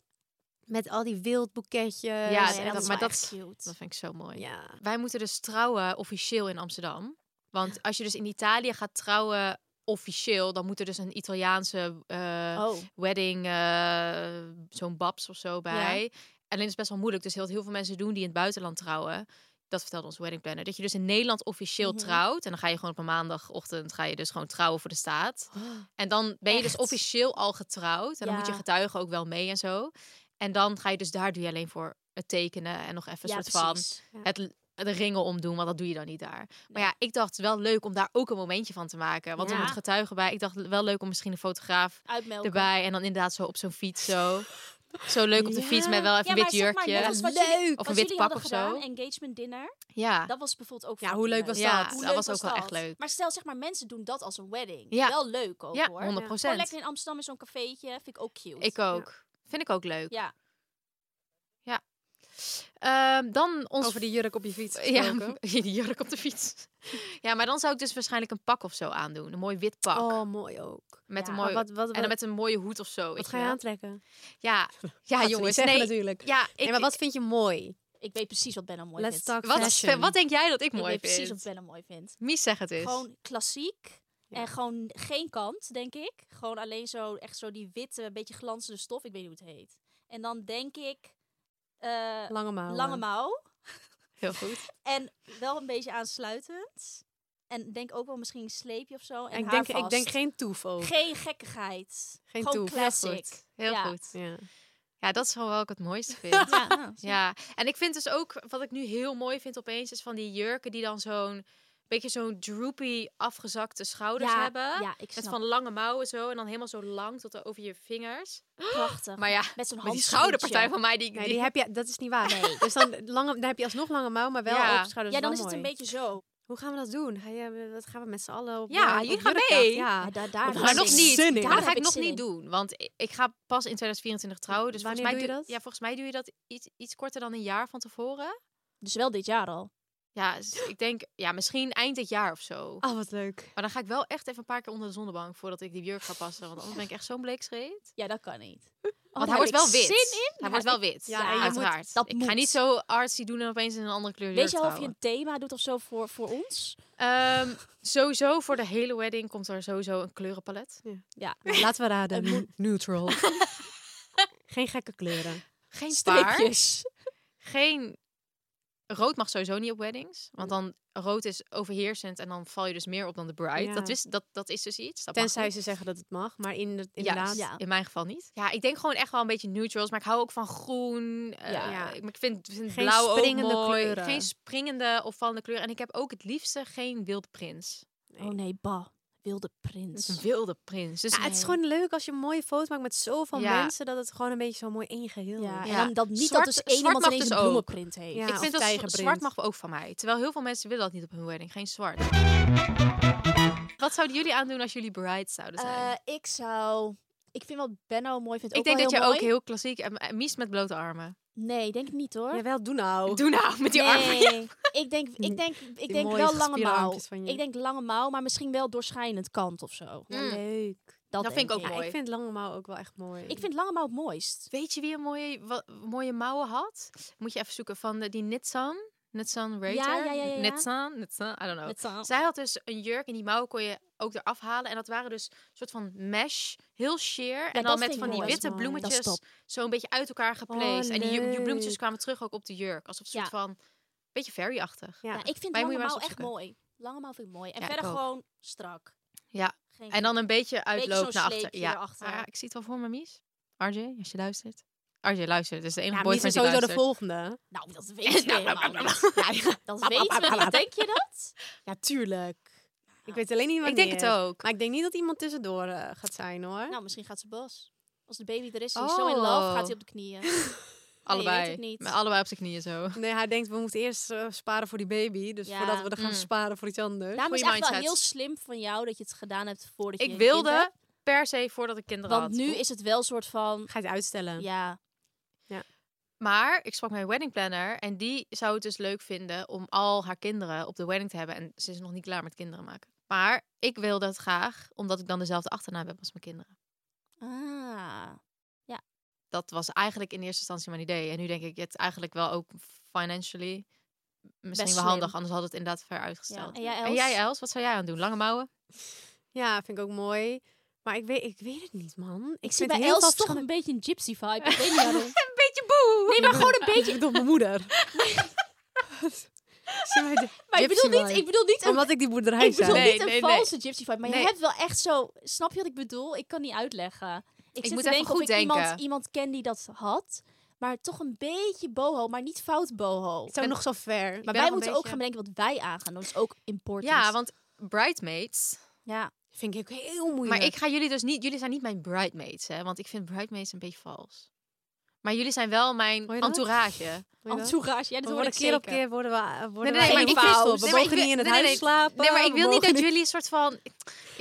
S3: met al die wildboeketjes.
S1: Ja,
S2: Ja,
S1: dat-
S2: ja,
S3: en
S2: dat
S3: dan-
S2: is
S1: maar
S2: wel
S1: dat-
S2: echt cute.
S1: Dat vind ik zo mooi.
S3: Oh, Ja.
S1: Wij moeten dus trouwen officieel in Amsterdam. Want als je dus in Italië gaat trouwen officieel, dan moet er dus een Italiaanse eh,
S2: Oh,
S1: wedding, eh, zo'n babs of zo bij. Alleen is het best wel moeilijk. Dus heel, heel veel mensen doen die in het buitenland trouwen. Dat vertelde onze wedding planner. Dat je dus in Nederland officieel
S2: Mhm.
S1: trouwt. En dan ga je gewoon op een maandagochtend ga je dus gewoon trouwen voor de staat. En dan ben je dus
S2: Echt?
S1: officieel al getrouwd. En dan moet je
S2: Ja.
S1: getuigen ook wel mee en zo. En dan ga je dus daar doe je alleen voor het tekenen en nog even
S2: ja,
S1: een soort
S2: precies.
S1: van het, de ringen omdoen. Want dat doe je dan niet daar. Maar
S2: Nee.
S1: ja, ik dacht wel leuk om daar ook een momentje van te maken. Want er
S3: Ja.
S1: moet getuigen bij. Ik dacht wel leuk om misschien een fotograaf
S2: Uitmelken.
S1: erbij. En dan inderdaad zo op zo'n fiets zo. Zo leuk op de
S3: Ja.
S1: fiets met wel even
S2: Ja,
S1: een
S2: maar
S1: wit
S2: zeg
S1: jurkje.
S2: maar, net als wat
S3: Leuk.
S2: jullie,
S1: Of een
S2: wat
S1: wit
S2: jullie
S1: pak
S2: hadden
S1: of zo.
S2: gedaan, engagement dinner.
S1: ja.
S2: Dat was bijvoorbeeld ook
S3: Ja,
S2: fucking
S3: hoe leuk was
S1: ja,
S3: dat?
S2: Hoe
S1: dat
S2: leuk
S1: was ook wel
S2: dat?
S1: echt leuk.
S2: Maar stel zeg maar, mensen doen dat als een wedding.
S1: Ja.
S2: Wel leuk ook
S1: Ja,
S2: hoor.
S1: 100
S2: Gewoon lekker in Amsterdam in zo'n cafeetje, vind ik ook cute.
S1: Ik ook. Vind ik ook leuk.
S2: Ja.
S1: Ehm, dan ons...
S3: Over die jurk op je fiets
S1: ja,
S3: gesproken.
S1: die jurk op de fiets. ja, maar dan zou ik dus waarschijnlijk een pak of zo aandoen. Een mooi wit pak.
S3: Oh, mooi ook.
S1: met
S2: ja.
S1: een
S3: Maar
S1: mooi...
S3: wat, wat,
S1: En dan
S3: wat,
S1: met een mooie hoed of zo. weet
S3: wat ga je
S1: wel.
S3: aantrekken?
S1: Ja, ja
S3: Gaat ze niet
S1: Ah, jongens.
S3: zeggen
S1: nee.
S3: natuurlijk.
S1: Ja, ik,
S3: Nee, maar wat vind je mooi?
S2: Ik weet precies wat Benno mooi
S3: Let's
S2: vindt.
S3: talk
S1: wat,
S3: fashion.
S1: wat denk jij dat ik
S2: ik
S1: mooi
S2: weet precies
S1: vind?
S2: wat Benno mooi vindt.
S1: Mies zeg het eens.
S2: Gewoon klassiek.
S3: Ja.
S2: En gewoon geen kant, denk ik. Gewoon alleen zo, echt zo die witte, beetje glanzende stof. Ik weet niet hoe het heet. En dan denk ik... eh,
S3: Lange mouwen.
S2: lange mouw.
S1: Heel goed.
S2: En wel een beetje aansluitend. En denk ook wel misschien een sleepje of zo. En
S3: ik, denk,
S2: haarvast.
S3: ik denk geen toef ook.
S2: Geen gekkigheid.
S3: Geen
S2: Gewoon
S3: toef.
S2: classic.
S1: Heel
S2: Ja.
S1: goed.
S3: Ja.
S1: Ja, dat is gewoon wel wat ik het mooiste vind.
S2: Ja, nou, zie je.
S1: ja, en ik vind dus ook, wat ik nu heel mooi vind opeens, is van die jurken die dan zo'n beetje zo'n droopy afgezakte schouders
S2: ja,
S1: hebben.
S2: Ja, ik
S1: Met
S2: snap.
S1: van lange mouwen zo en dan helemaal zo lang tot over je vingers.
S2: prachtig.
S1: Maar ja,
S2: met zo'n
S1: met die
S2: handschoentje.
S1: schouderpartij van mij die ik
S3: Nee, die heb je, dat is niet waar. Dus dan, lange, dan heb je alsnog lange mouw, maar wel
S1: Ja.
S3: open schouders.
S2: Ja, dan is
S3: wel
S2: het een
S3: mooi.
S2: beetje zo.
S3: Hoe gaan we dat doen? Ga je, dat gaan we met z'n allen op
S1: Ja,
S3: eh, op
S1: jullie gaan
S3: jurkjacht,
S1: mee.
S3: Ja.
S2: Ja, daar, daar
S3: Maar
S2: heb ik
S3: nog
S2: zin
S3: niet.
S2: in.
S3: Maar
S2: Daar
S1: Maar dat ga
S2: heb
S1: ik nog
S2: zin
S1: niet
S2: in.
S1: doen, want i- ik ga pas in 2024 trouwen. Dus
S3: Wanneer
S1: volgens mij
S3: doe je
S1: doe-
S3: dat?
S1: Ja, volgens mij doe je dat iets, iets korter dan een jaar van tevoren.
S2: Dus wel dit jaar al.
S1: Ja, dus ik denk, ja, misschien eind dit jaar of zo.
S3: Oh, wat leuk.
S1: Maar dan ga ik wel echt even een paar keer onder de zonnebank voordat ik die jurk ga passen. Want anders ben ik echt zo'n bleekscheet.
S2: Ja, dat kan niet.
S1: Want hij wordt wel wit.
S2: Zin in?
S1: Hij wordt wel wit.
S3: Ja,
S1: Ja,
S3: en je moet-
S1: uiteraard.
S2: dat
S1: ik
S2: moet.
S1: ga niet zo artsy doen en opeens in een andere kleur
S2: Weet je
S1: jurk
S2: wel of je
S1: trouwen.
S2: een thema doet of zo voor, voor ons?
S1: Ehm, sowieso voor de hele wedding komt er sowieso een kleurenpalet.
S2: Ja.
S3: Nou, Laten we
S2: Een moe-
S3: raden. Neutral. Geen gekke kleuren.
S1: Geen paar.
S2: Streepjes.
S1: Geen... Rood mag sowieso niet op weddings. Want dan rood is overheersend en dan val je dus meer op dan de bride.
S3: Ja.
S1: Dat, wist, dat, dat is dus iets. Dat mag
S3: Tenzij
S1: niet.
S3: ze zeggen dat het mag, maar in de,
S1: Ja,
S3: inderdaad.
S2: ja.
S1: In mijn geval niet. Ja, ik denk gewoon echt wel een beetje neutrals. Maar ik hou ook van groen. eh,
S2: Ja.
S3: Ja.
S1: maar Ik vind, vind
S3: Geen
S1: blauw ook
S3: springende
S1: mooi.
S3: kleuren.
S1: Geen springende of vallende kleuren. En ik heb ook het liefste geen wilde prins.
S2: Oh nee, bah. Wilde
S1: Een
S2: prins.
S1: wilde prins. Dus
S3: Ja, Nou, het is gewoon leuk als je een mooie foto maakt met zoveel
S1: Ja.
S3: mensen, dat het gewoon een beetje zo mooi één geheel
S2: Ja,
S3: is.
S2: en dan, dat niet
S1: Zwart-
S2: dat dus één iemand
S1: zwart mag
S2: ineens
S1: dus
S2: een
S1: ook.
S2: bloemenprint heeft.
S3: Ja.
S1: ik vind
S3: of
S1: dat z-
S3: tijgerprint.
S1: zwart mag ook van mij. Terwijl heel veel mensen willen dat niet op hun wedding. Geen zwart. Wat zouden jullie aandoen als jullie bride zouden zijn?
S2: Eh, ik zou... Ik vind wat Benno mooi vindt ook
S1: ik denk
S2: wel
S1: dat je
S2: heel
S1: ook
S2: mooi.
S1: heel klassiek... en- en Mies met blote armen.
S2: Nee, denk ik niet hoor.
S3: Jawel, doe nou.
S1: Doe nou, met die armen.
S2: nee, ik denk, ik denk, ik denk
S3: mooie
S2: wel lange
S3: gespierde
S2: mouw.
S3: armpjes van je.
S2: Ik denk lange mouw, maar misschien wel doorschijnend kant of zo.
S3: Ja,
S1: Mm.
S3: leuk.
S2: Dat,
S1: Dat vind
S2: denk
S1: ik ook
S3: Ja,
S1: mooi.
S3: ik vind lange mouw ook wel echt mooi.
S2: Ik vind lange mouw het mooist.
S1: Weet je wie een mooie, wa- mooie mouwen had? Moet je even zoeken van de, die Nitsan. Nitsan Raider.
S2: ja, ja, ja, ja.
S1: Nitsan, Nitsan, I don't know.
S2: Met zo'n-
S1: Zij had dus een jurk en die mouwen kon je ook eraf halen. En dat waren dus een soort van mesh, heel sheer. en
S2: dat
S1: dan met
S2: vind ik
S1: van die
S2: mooi.
S1: witte
S3: Dat is mooi.
S2: eh, Dat is Oh,
S1: bloemetjes zo een beetje uit elkaar geplaced. en die, ju- die bloemetjes
S3: leuk.
S1: kwamen terug ook op de jurk. Alsof een soort van, beetje fairy-achtig.
S3: Ja.
S2: Ja, ik vind
S1: Maar je moet
S2: lange
S1: je maar eens
S2: mouw echt
S1: opzoeken.
S2: mooi. Lange mouw vind ik mooi. En
S1: Ja,
S2: verder
S1: ik ook.
S2: gewoon strak.
S1: Ja.
S2: Geen
S1: En dan een beetje uitloop
S2: zo'n
S1: naar achter.
S2: sleepje
S1: Ja.
S2: erachter.
S1: Maar ja, ik zie het wel voor me, Mies. RJ, als je luistert. RJ, luister. Het is de enige
S3: ja, Mies
S1: boyfriend
S3: is
S1: die
S3: sowieso de
S1: luistert.
S3: volgende.
S2: Nou, dat weten we
S1: Nou,
S2: helemaal
S1: nou,
S2: niet. Ja, ja, dat
S3: Ap, ap,
S2: weten we
S3: ap,
S2: niet.
S3: ap.
S2: Denk je dat?
S3: Ja, tuurlijk. Ik weet alleen niet
S1: Ik denk het
S3: wanneer.
S1: ook.
S3: Maar ik denk niet dat iemand tussendoor eh, gaat zijn hoor.
S2: Nou, misschien gaat ze bos. Als de baby er is, is hij zo in love,
S1: Oh.
S2: gaat hij op de knieën.
S1: Allebei.
S2: weet het niet.
S1: Met allebei op zijn knieën zo.
S3: Nee, hij denkt we moeten eerst eh, sparen voor die baby. Dus
S2: Ja.
S3: voordat we er gaan
S1: Mm.
S3: sparen voor iets anders.
S2: Daarom is
S1: Goeie
S2: het echt wel
S1: mindset.
S2: heel slim van jou dat je het gedaan hebt voordat je
S1: Ik
S2: een kind
S1: wilde
S2: hebt.
S1: per se voordat ik kinderen
S2: Want
S1: had.
S2: nu is het wel een soort van...
S3: Ga je het uitstellen?
S2: Ja,
S1: Maar ik sprak met mijn wedding planner en die zou het dus leuk vinden om al haar kinderen op de wedding te hebben. En ze is nog niet klaar met kinderen maken. Maar ik wil dat graag, omdat ik dan dezelfde achternaam heb als mijn kinderen.
S2: ah,
S1: Dat was eigenlijk in eerste instantie mijn idee. En nu denk ik het eigenlijk wel ook financially misschien
S2: Best
S1: wel handig.
S2: slim.
S1: Anders had het inderdaad ver uitgesteld.
S2: En jij, Els?
S1: En jij, Els, wat zou jij aan doen? Lange mouwen?
S3: Ja, vind ik ook mooi. Maar ik weet, ik weet het niet, man.
S2: Ik zie bij
S3: vind heel
S2: Els
S3: veel
S2: toch
S3: verschillende-
S2: een beetje een gypsy vibe. Ik weet niet waarom.
S1: Een beetje boe!
S2: Nee, maar gewoon een beetje...
S3: Ik bedoel mijn moeder. Zie mij de-
S2: Maar ik bedoel
S3: Gypsy
S2: niet,
S3: vibe.
S2: ik bedoel niet een
S3: Omdat ik die boerderij
S2: Ik bedoel
S3: zei.
S1: Nee,
S2: niet een
S1: nee, nee.
S2: valse gypsy vibe, maar
S1: Nee.
S2: je hebt wel echt zo... Snap je wat ik bedoel? Ik kan niet uitleggen. Ik, zit
S1: moet
S2: te
S1: even
S2: denken of
S1: goed
S2: ik Iemand,
S1: denken.
S2: iemand ken die dat had, maar toch een beetje boho, maar niet fout boho.
S3: Het is ook nog zo
S2: maar
S3: ver.
S1: ben
S2: wij
S1: nog een
S2: moeten ook
S1: beetje-
S2: gaan bedenken wat wij aangaan. Dat is ook important.
S1: Ja, want bridesmaids,
S2: Ja.
S3: vind ik ook heel moeilijk.
S1: Maar ik ga jullie dus niet... Jullie zijn niet mijn bridesmaids, hè? Want ik vind bridesmaids een beetje vals. Maar jullie zijn wel mijn
S3: Hoor je dat?
S1: entourage.
S3: Hoor je dat?
S2: Entourage, ja, dat
S3: we
S2: hoor
S3: worden
S2: ik
S3: keer op
S2: zeker.
S3: keer worden we, eh, worden
S1: nee,
S3: we
S2: maar ik
S3: gefouwd.
S2: vind-
S3: We
S1: nee, maar ik
S3: mogen
S1: wil-
S3: niet in het
S1: nee, nee,
S3: huis
S1: nee.
S3: slapen.
S1: Nee, maar ik
S3: we
S1: wil niet
S3: mogen
S1: dat jullie een soort van... Ik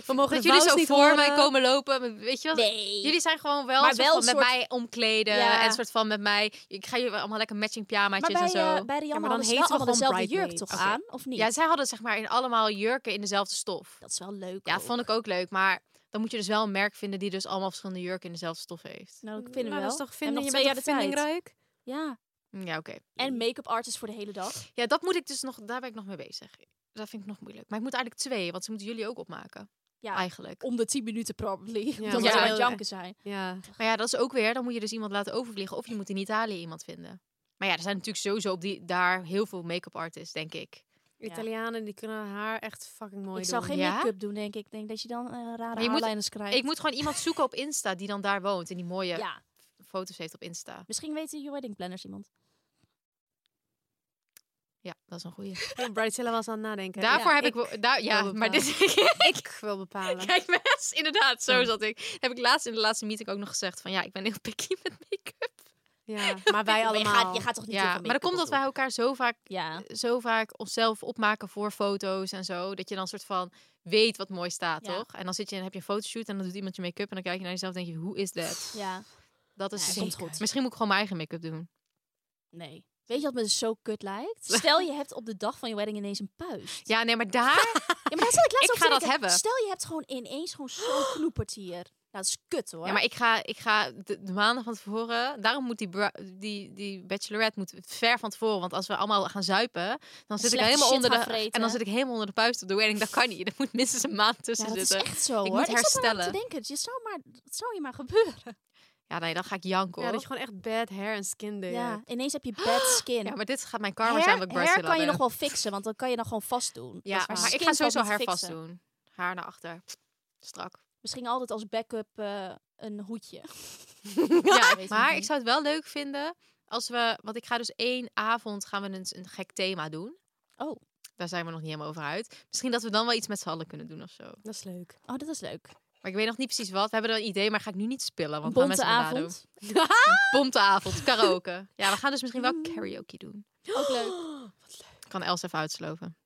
S1: vind
S3: mogen
S1: dat
S3: de
S1: jullie
S3: vouws
S1: zo
S3: niet
S1: voor
S3: horen.
S1: mij komen lopen. met- Weet je wel?
S2: Nee.
S1: Jullie zijn gewoon wel,
S2: Maar
S1: een soort
S2: wel
S1: van
S2: een
S1: met
S2: soort-
S1: mij omkleden.
S2: Ja.
S1: En een soort van met mij... Ik ga jullie allemaal lekker matching
S2: maar
S1: pyjamaatjes
S2: bij,
S1: en zo.
S2: eh, bij Rihanna
S3: dan
S2: hadden ze wel
S3: heten we
S2: allemaal
S3: gewoon
S2: dezelfde jurk toch
S3: bridesmaids.
S2: aan, of niet?
S1: ja, zij hadden zeg maar in allemaal jurken in dezelfde stof.
S2: dat is wel leuk.
S1: Ja,
S2: ook.
S1: vond ik ook leuk. Maar dan moet je dus wel een merk vinden die dus allemaal verschillende jurken in dezelfde stof heeft.
S2: Nou, dat vinden
S3: Maar
S2: we wel.
S3: dat is toch
S2: We hebben
S3: vinden, je
S2: nog twee jaar
S3: bent toch
S2: de tijd. Ja.
S3: vindingrijk?
S1: Ja, oké.
S2: En make-up artist voor de hele dag.
S1: Ja, dat moet ik dus nog, daar ben ik nog mee bezig. Dat vind ik nog moeilijk. Maar ik moet eigenlijk twee, want ze moeten jullie ook opmaken.
S2: Ja.
S1: Eigenlijk.
S2: Om de 10 minuten, probably. dat
S3: maar
S1: dat
S2: we
S1: is
S2: aan
S3: heel
S2: het janken zijn.
S3: Ja.
S1: Maar ja, dat is ook weer, dan moet je dus iemand laten overvliegen. Of je moet in Italië iemand vinden. Maar ja, er zijn natuurlijk sowieso op die, daar heel veel make-up artists, denk ik.
S3: Italianen die kunnen haar echt fucking mooi
S2: ik
S3: doen.
S2: zou geen
S1: Ja?
S2: make-up doen, denk ik. Ik denk dat je dan eh, rare
S1: je moet-
S2: haarlijners krijgt.
S1: Ik moet gewoon iemand zoeken op Insta die dan daar woont en die mooie
S2: Ja,
S1: foto's heeft op Insta.
S2: misschien weten je wedding planners iemand.
S1: Ja, dat is een goede.
S3: Ja, Bridezilla was aan het nadenken.
S1: Daarvoor
S3: Ja,
S1: heb ik,
S3: ik,
S1: wel- daar, ja,
S3: wil
S1: maar dit
S3: ik wil bepalen.
S1: Kijk, mes, inderdaad, zo zat ik. Heb ik laatst in de laatste meeting ook nog gezegd van ja, ik ben heel picky met make-up.
S3: Ja, maar wij
S1: Oh,
S2: Maar
S3: allemaal.
S2: je gaat, je gaat toch niet heel
S1: Ja,
S2: veel
S1: maar
S2: make-up
S1: dan komt dat
S2: op
S1: wij elkaar zo vaak,
S2: doen? Ja.
S1: zo vaak onszelf opmaken voor foto's en zo, dat je dan soort van weet wat mooi staat,
S2: Ja.
S1: toch? En dan zit je en heb je een fotoshoot en dan doet iemand je make-up en dan kijk je naar jezelf en denk je, hoe is dat?
S2: Ja,
S1: Dat
S2: Ja,
S1: is dus
S2: dat komt goed.
S1: Misschien moet ik gewoon mijn eigen make-up doen.
S2: nee. Weet je wat me dus zo kut lijkt? Stel je hebt op de dag van je wedding ineens een puist.
S1: Ja, nee, maar daar,
S2: Ja, maar daar zat ik laatst
S1: Ik
S2: over
S1: ga
S2: te
S1: dat
S2: denken.
S1: hebben.
S2: Stel je hebt gewoon ineens gewoon zo'n knoepert hier. Nou, dat is kut hoor.
S1: ja, maar ik ga, ik ga de, de maanden van tevoren, daarom moet die, bra- die, die bachelorette moet ver van tevoren, want als we allemaal gaan zuipen, dan zit ik
S2: Slechte
S1: helemaal
S2: shit
S1: onder de,
S2: gaan vreten.
S1: en dan zit ik helemaal onder de puist op de wedding. Dat kan niet, er moet minstens een maand
S2: Ja,
S1: tussen
S2: dat is
S1: zitten.
S2: echt zo
S1: eh, Ik
S2: hoor.
S1: moet
S2: ik zat er maar aan
S1: herstellen.
S2: te denken. Het zou, maar, het zou je maar gebeuren.
S1: Ja, nee, dan ga ik janken
S3: Ja,
S1: hoor.
S3: dat je gewoon echt bad hair en skin day
S2: Ja,
S3: hebt.
S2: ineens heb je bad skin.
S1: Ja, maar dit gaat mijn karma zijn
S2: hair,
S1: wat ik
S2: hair
S1: Brazilla
S2: kan je nog
S1: ben.
S2: wel fixen, want dan kan je dan gewoon vast doen.
S1: Ja,
S2: Dat is
S1: maar,
S2: waar.
S1: ik
S2: Skin
S1: ga
S2: valt
S1: sowieso
S2: niet te
S1: haar vast
S2: fixen.
S1: doen. Haar naar achter. Strak.
S2: Misschien altijd als backup eh, een hoedje.
S1: Ja,
S2: weet ik
S1: maar
S2: niet.
S1: ik zou het wel leuk vinden als we... Want ik ga dus één avond gaan we een, een gek thema doen.
S2: Oh.
S1: Daar zijn we nog niet helemaal over uit. Misschien dat we dan wel iets met z'n allen kunnen doen of zo.
S3: Dat is leuk.
S2: Oh, dat is leuk.
S1: Maar ik weet nog niet precies wat. We hebben er een idee, maar ga ik nu niet spillen.
S2: Een
S1: Want dan
S2: bonte
S1: mensen me nadoen.
S2: avond.
S1: Bonte avond. Karaoke. Ja, we gaan dus misschien wel karaoke doen.
S2: Ook leuk.
S1: Ik kan Els even uitsloven.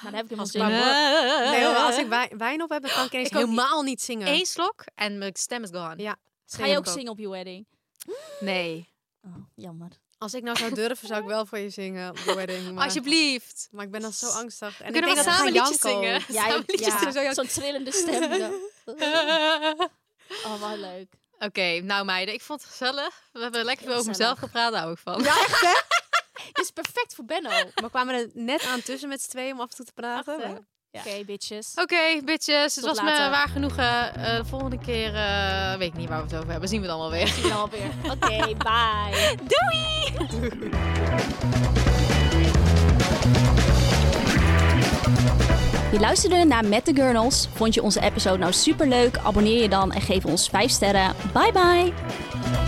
S2: Maar Nou, dan heb ik hem
S1: Dus
S3: Als
S2: misschien.
S3: ik
S2: Ja.
S3: Nee, hoor, als ik wij- wijn op heb, dan kan ik ineens
S1: Eh. Ik ook niet.
S3: helemaal niet zingen.
S1: Eén slok en mijn stem is gone.
S3: Ja.
S2: Ga je ook zingen op je wedding?
S1: Nee.
S2: Oh, jammer.
S3: Als ik nou zou durven, zou ik wel voor je zingen op de wedding. Maar,
S1: Alsjeblieft.
S3: maar ik ben dan zo angstig. En
S1: We kunnen
S3: ik denk
S1: wel
S3: dat
S1: samen
S3: ik ga
S1: liedjes
S3: janken.
S1: zingen.
S2: Ja,
S1: Samen liedjes
S2: ja,
S1: doen, zo, ja.
S2: zo'n trillende stem. zo. Oh, wat leuk.
S1: Oké, nou meiden, ik vond het gezellig. We hebben lekker
S2: Heel
S1: veel over mezelf gepraat, daar hou ik van.
S3: Ja, echt hè?
S2: Dit is perfect voor Benno.
S3: Maar kwamen er net aan tussen met z'n tweeën om af en toe te praten.
S2: Echt, hè?
S3: maar-
S2: Oké, bitches.
S1: Oké, bitches, het
S2: Tot
S1: was me
S2: later.
S1: waar genoegen. Eh, de volgende keer eh, weet ik niet waar we het over hebben. Zien we dan wel weer.
S2: Zien we dan alweer. Oké, bye. Je luisterde naar Met de Gurnals. Vond je onze episode nou superleuk? Abonneer je dan en geef ons 5 sterren. Bye bye!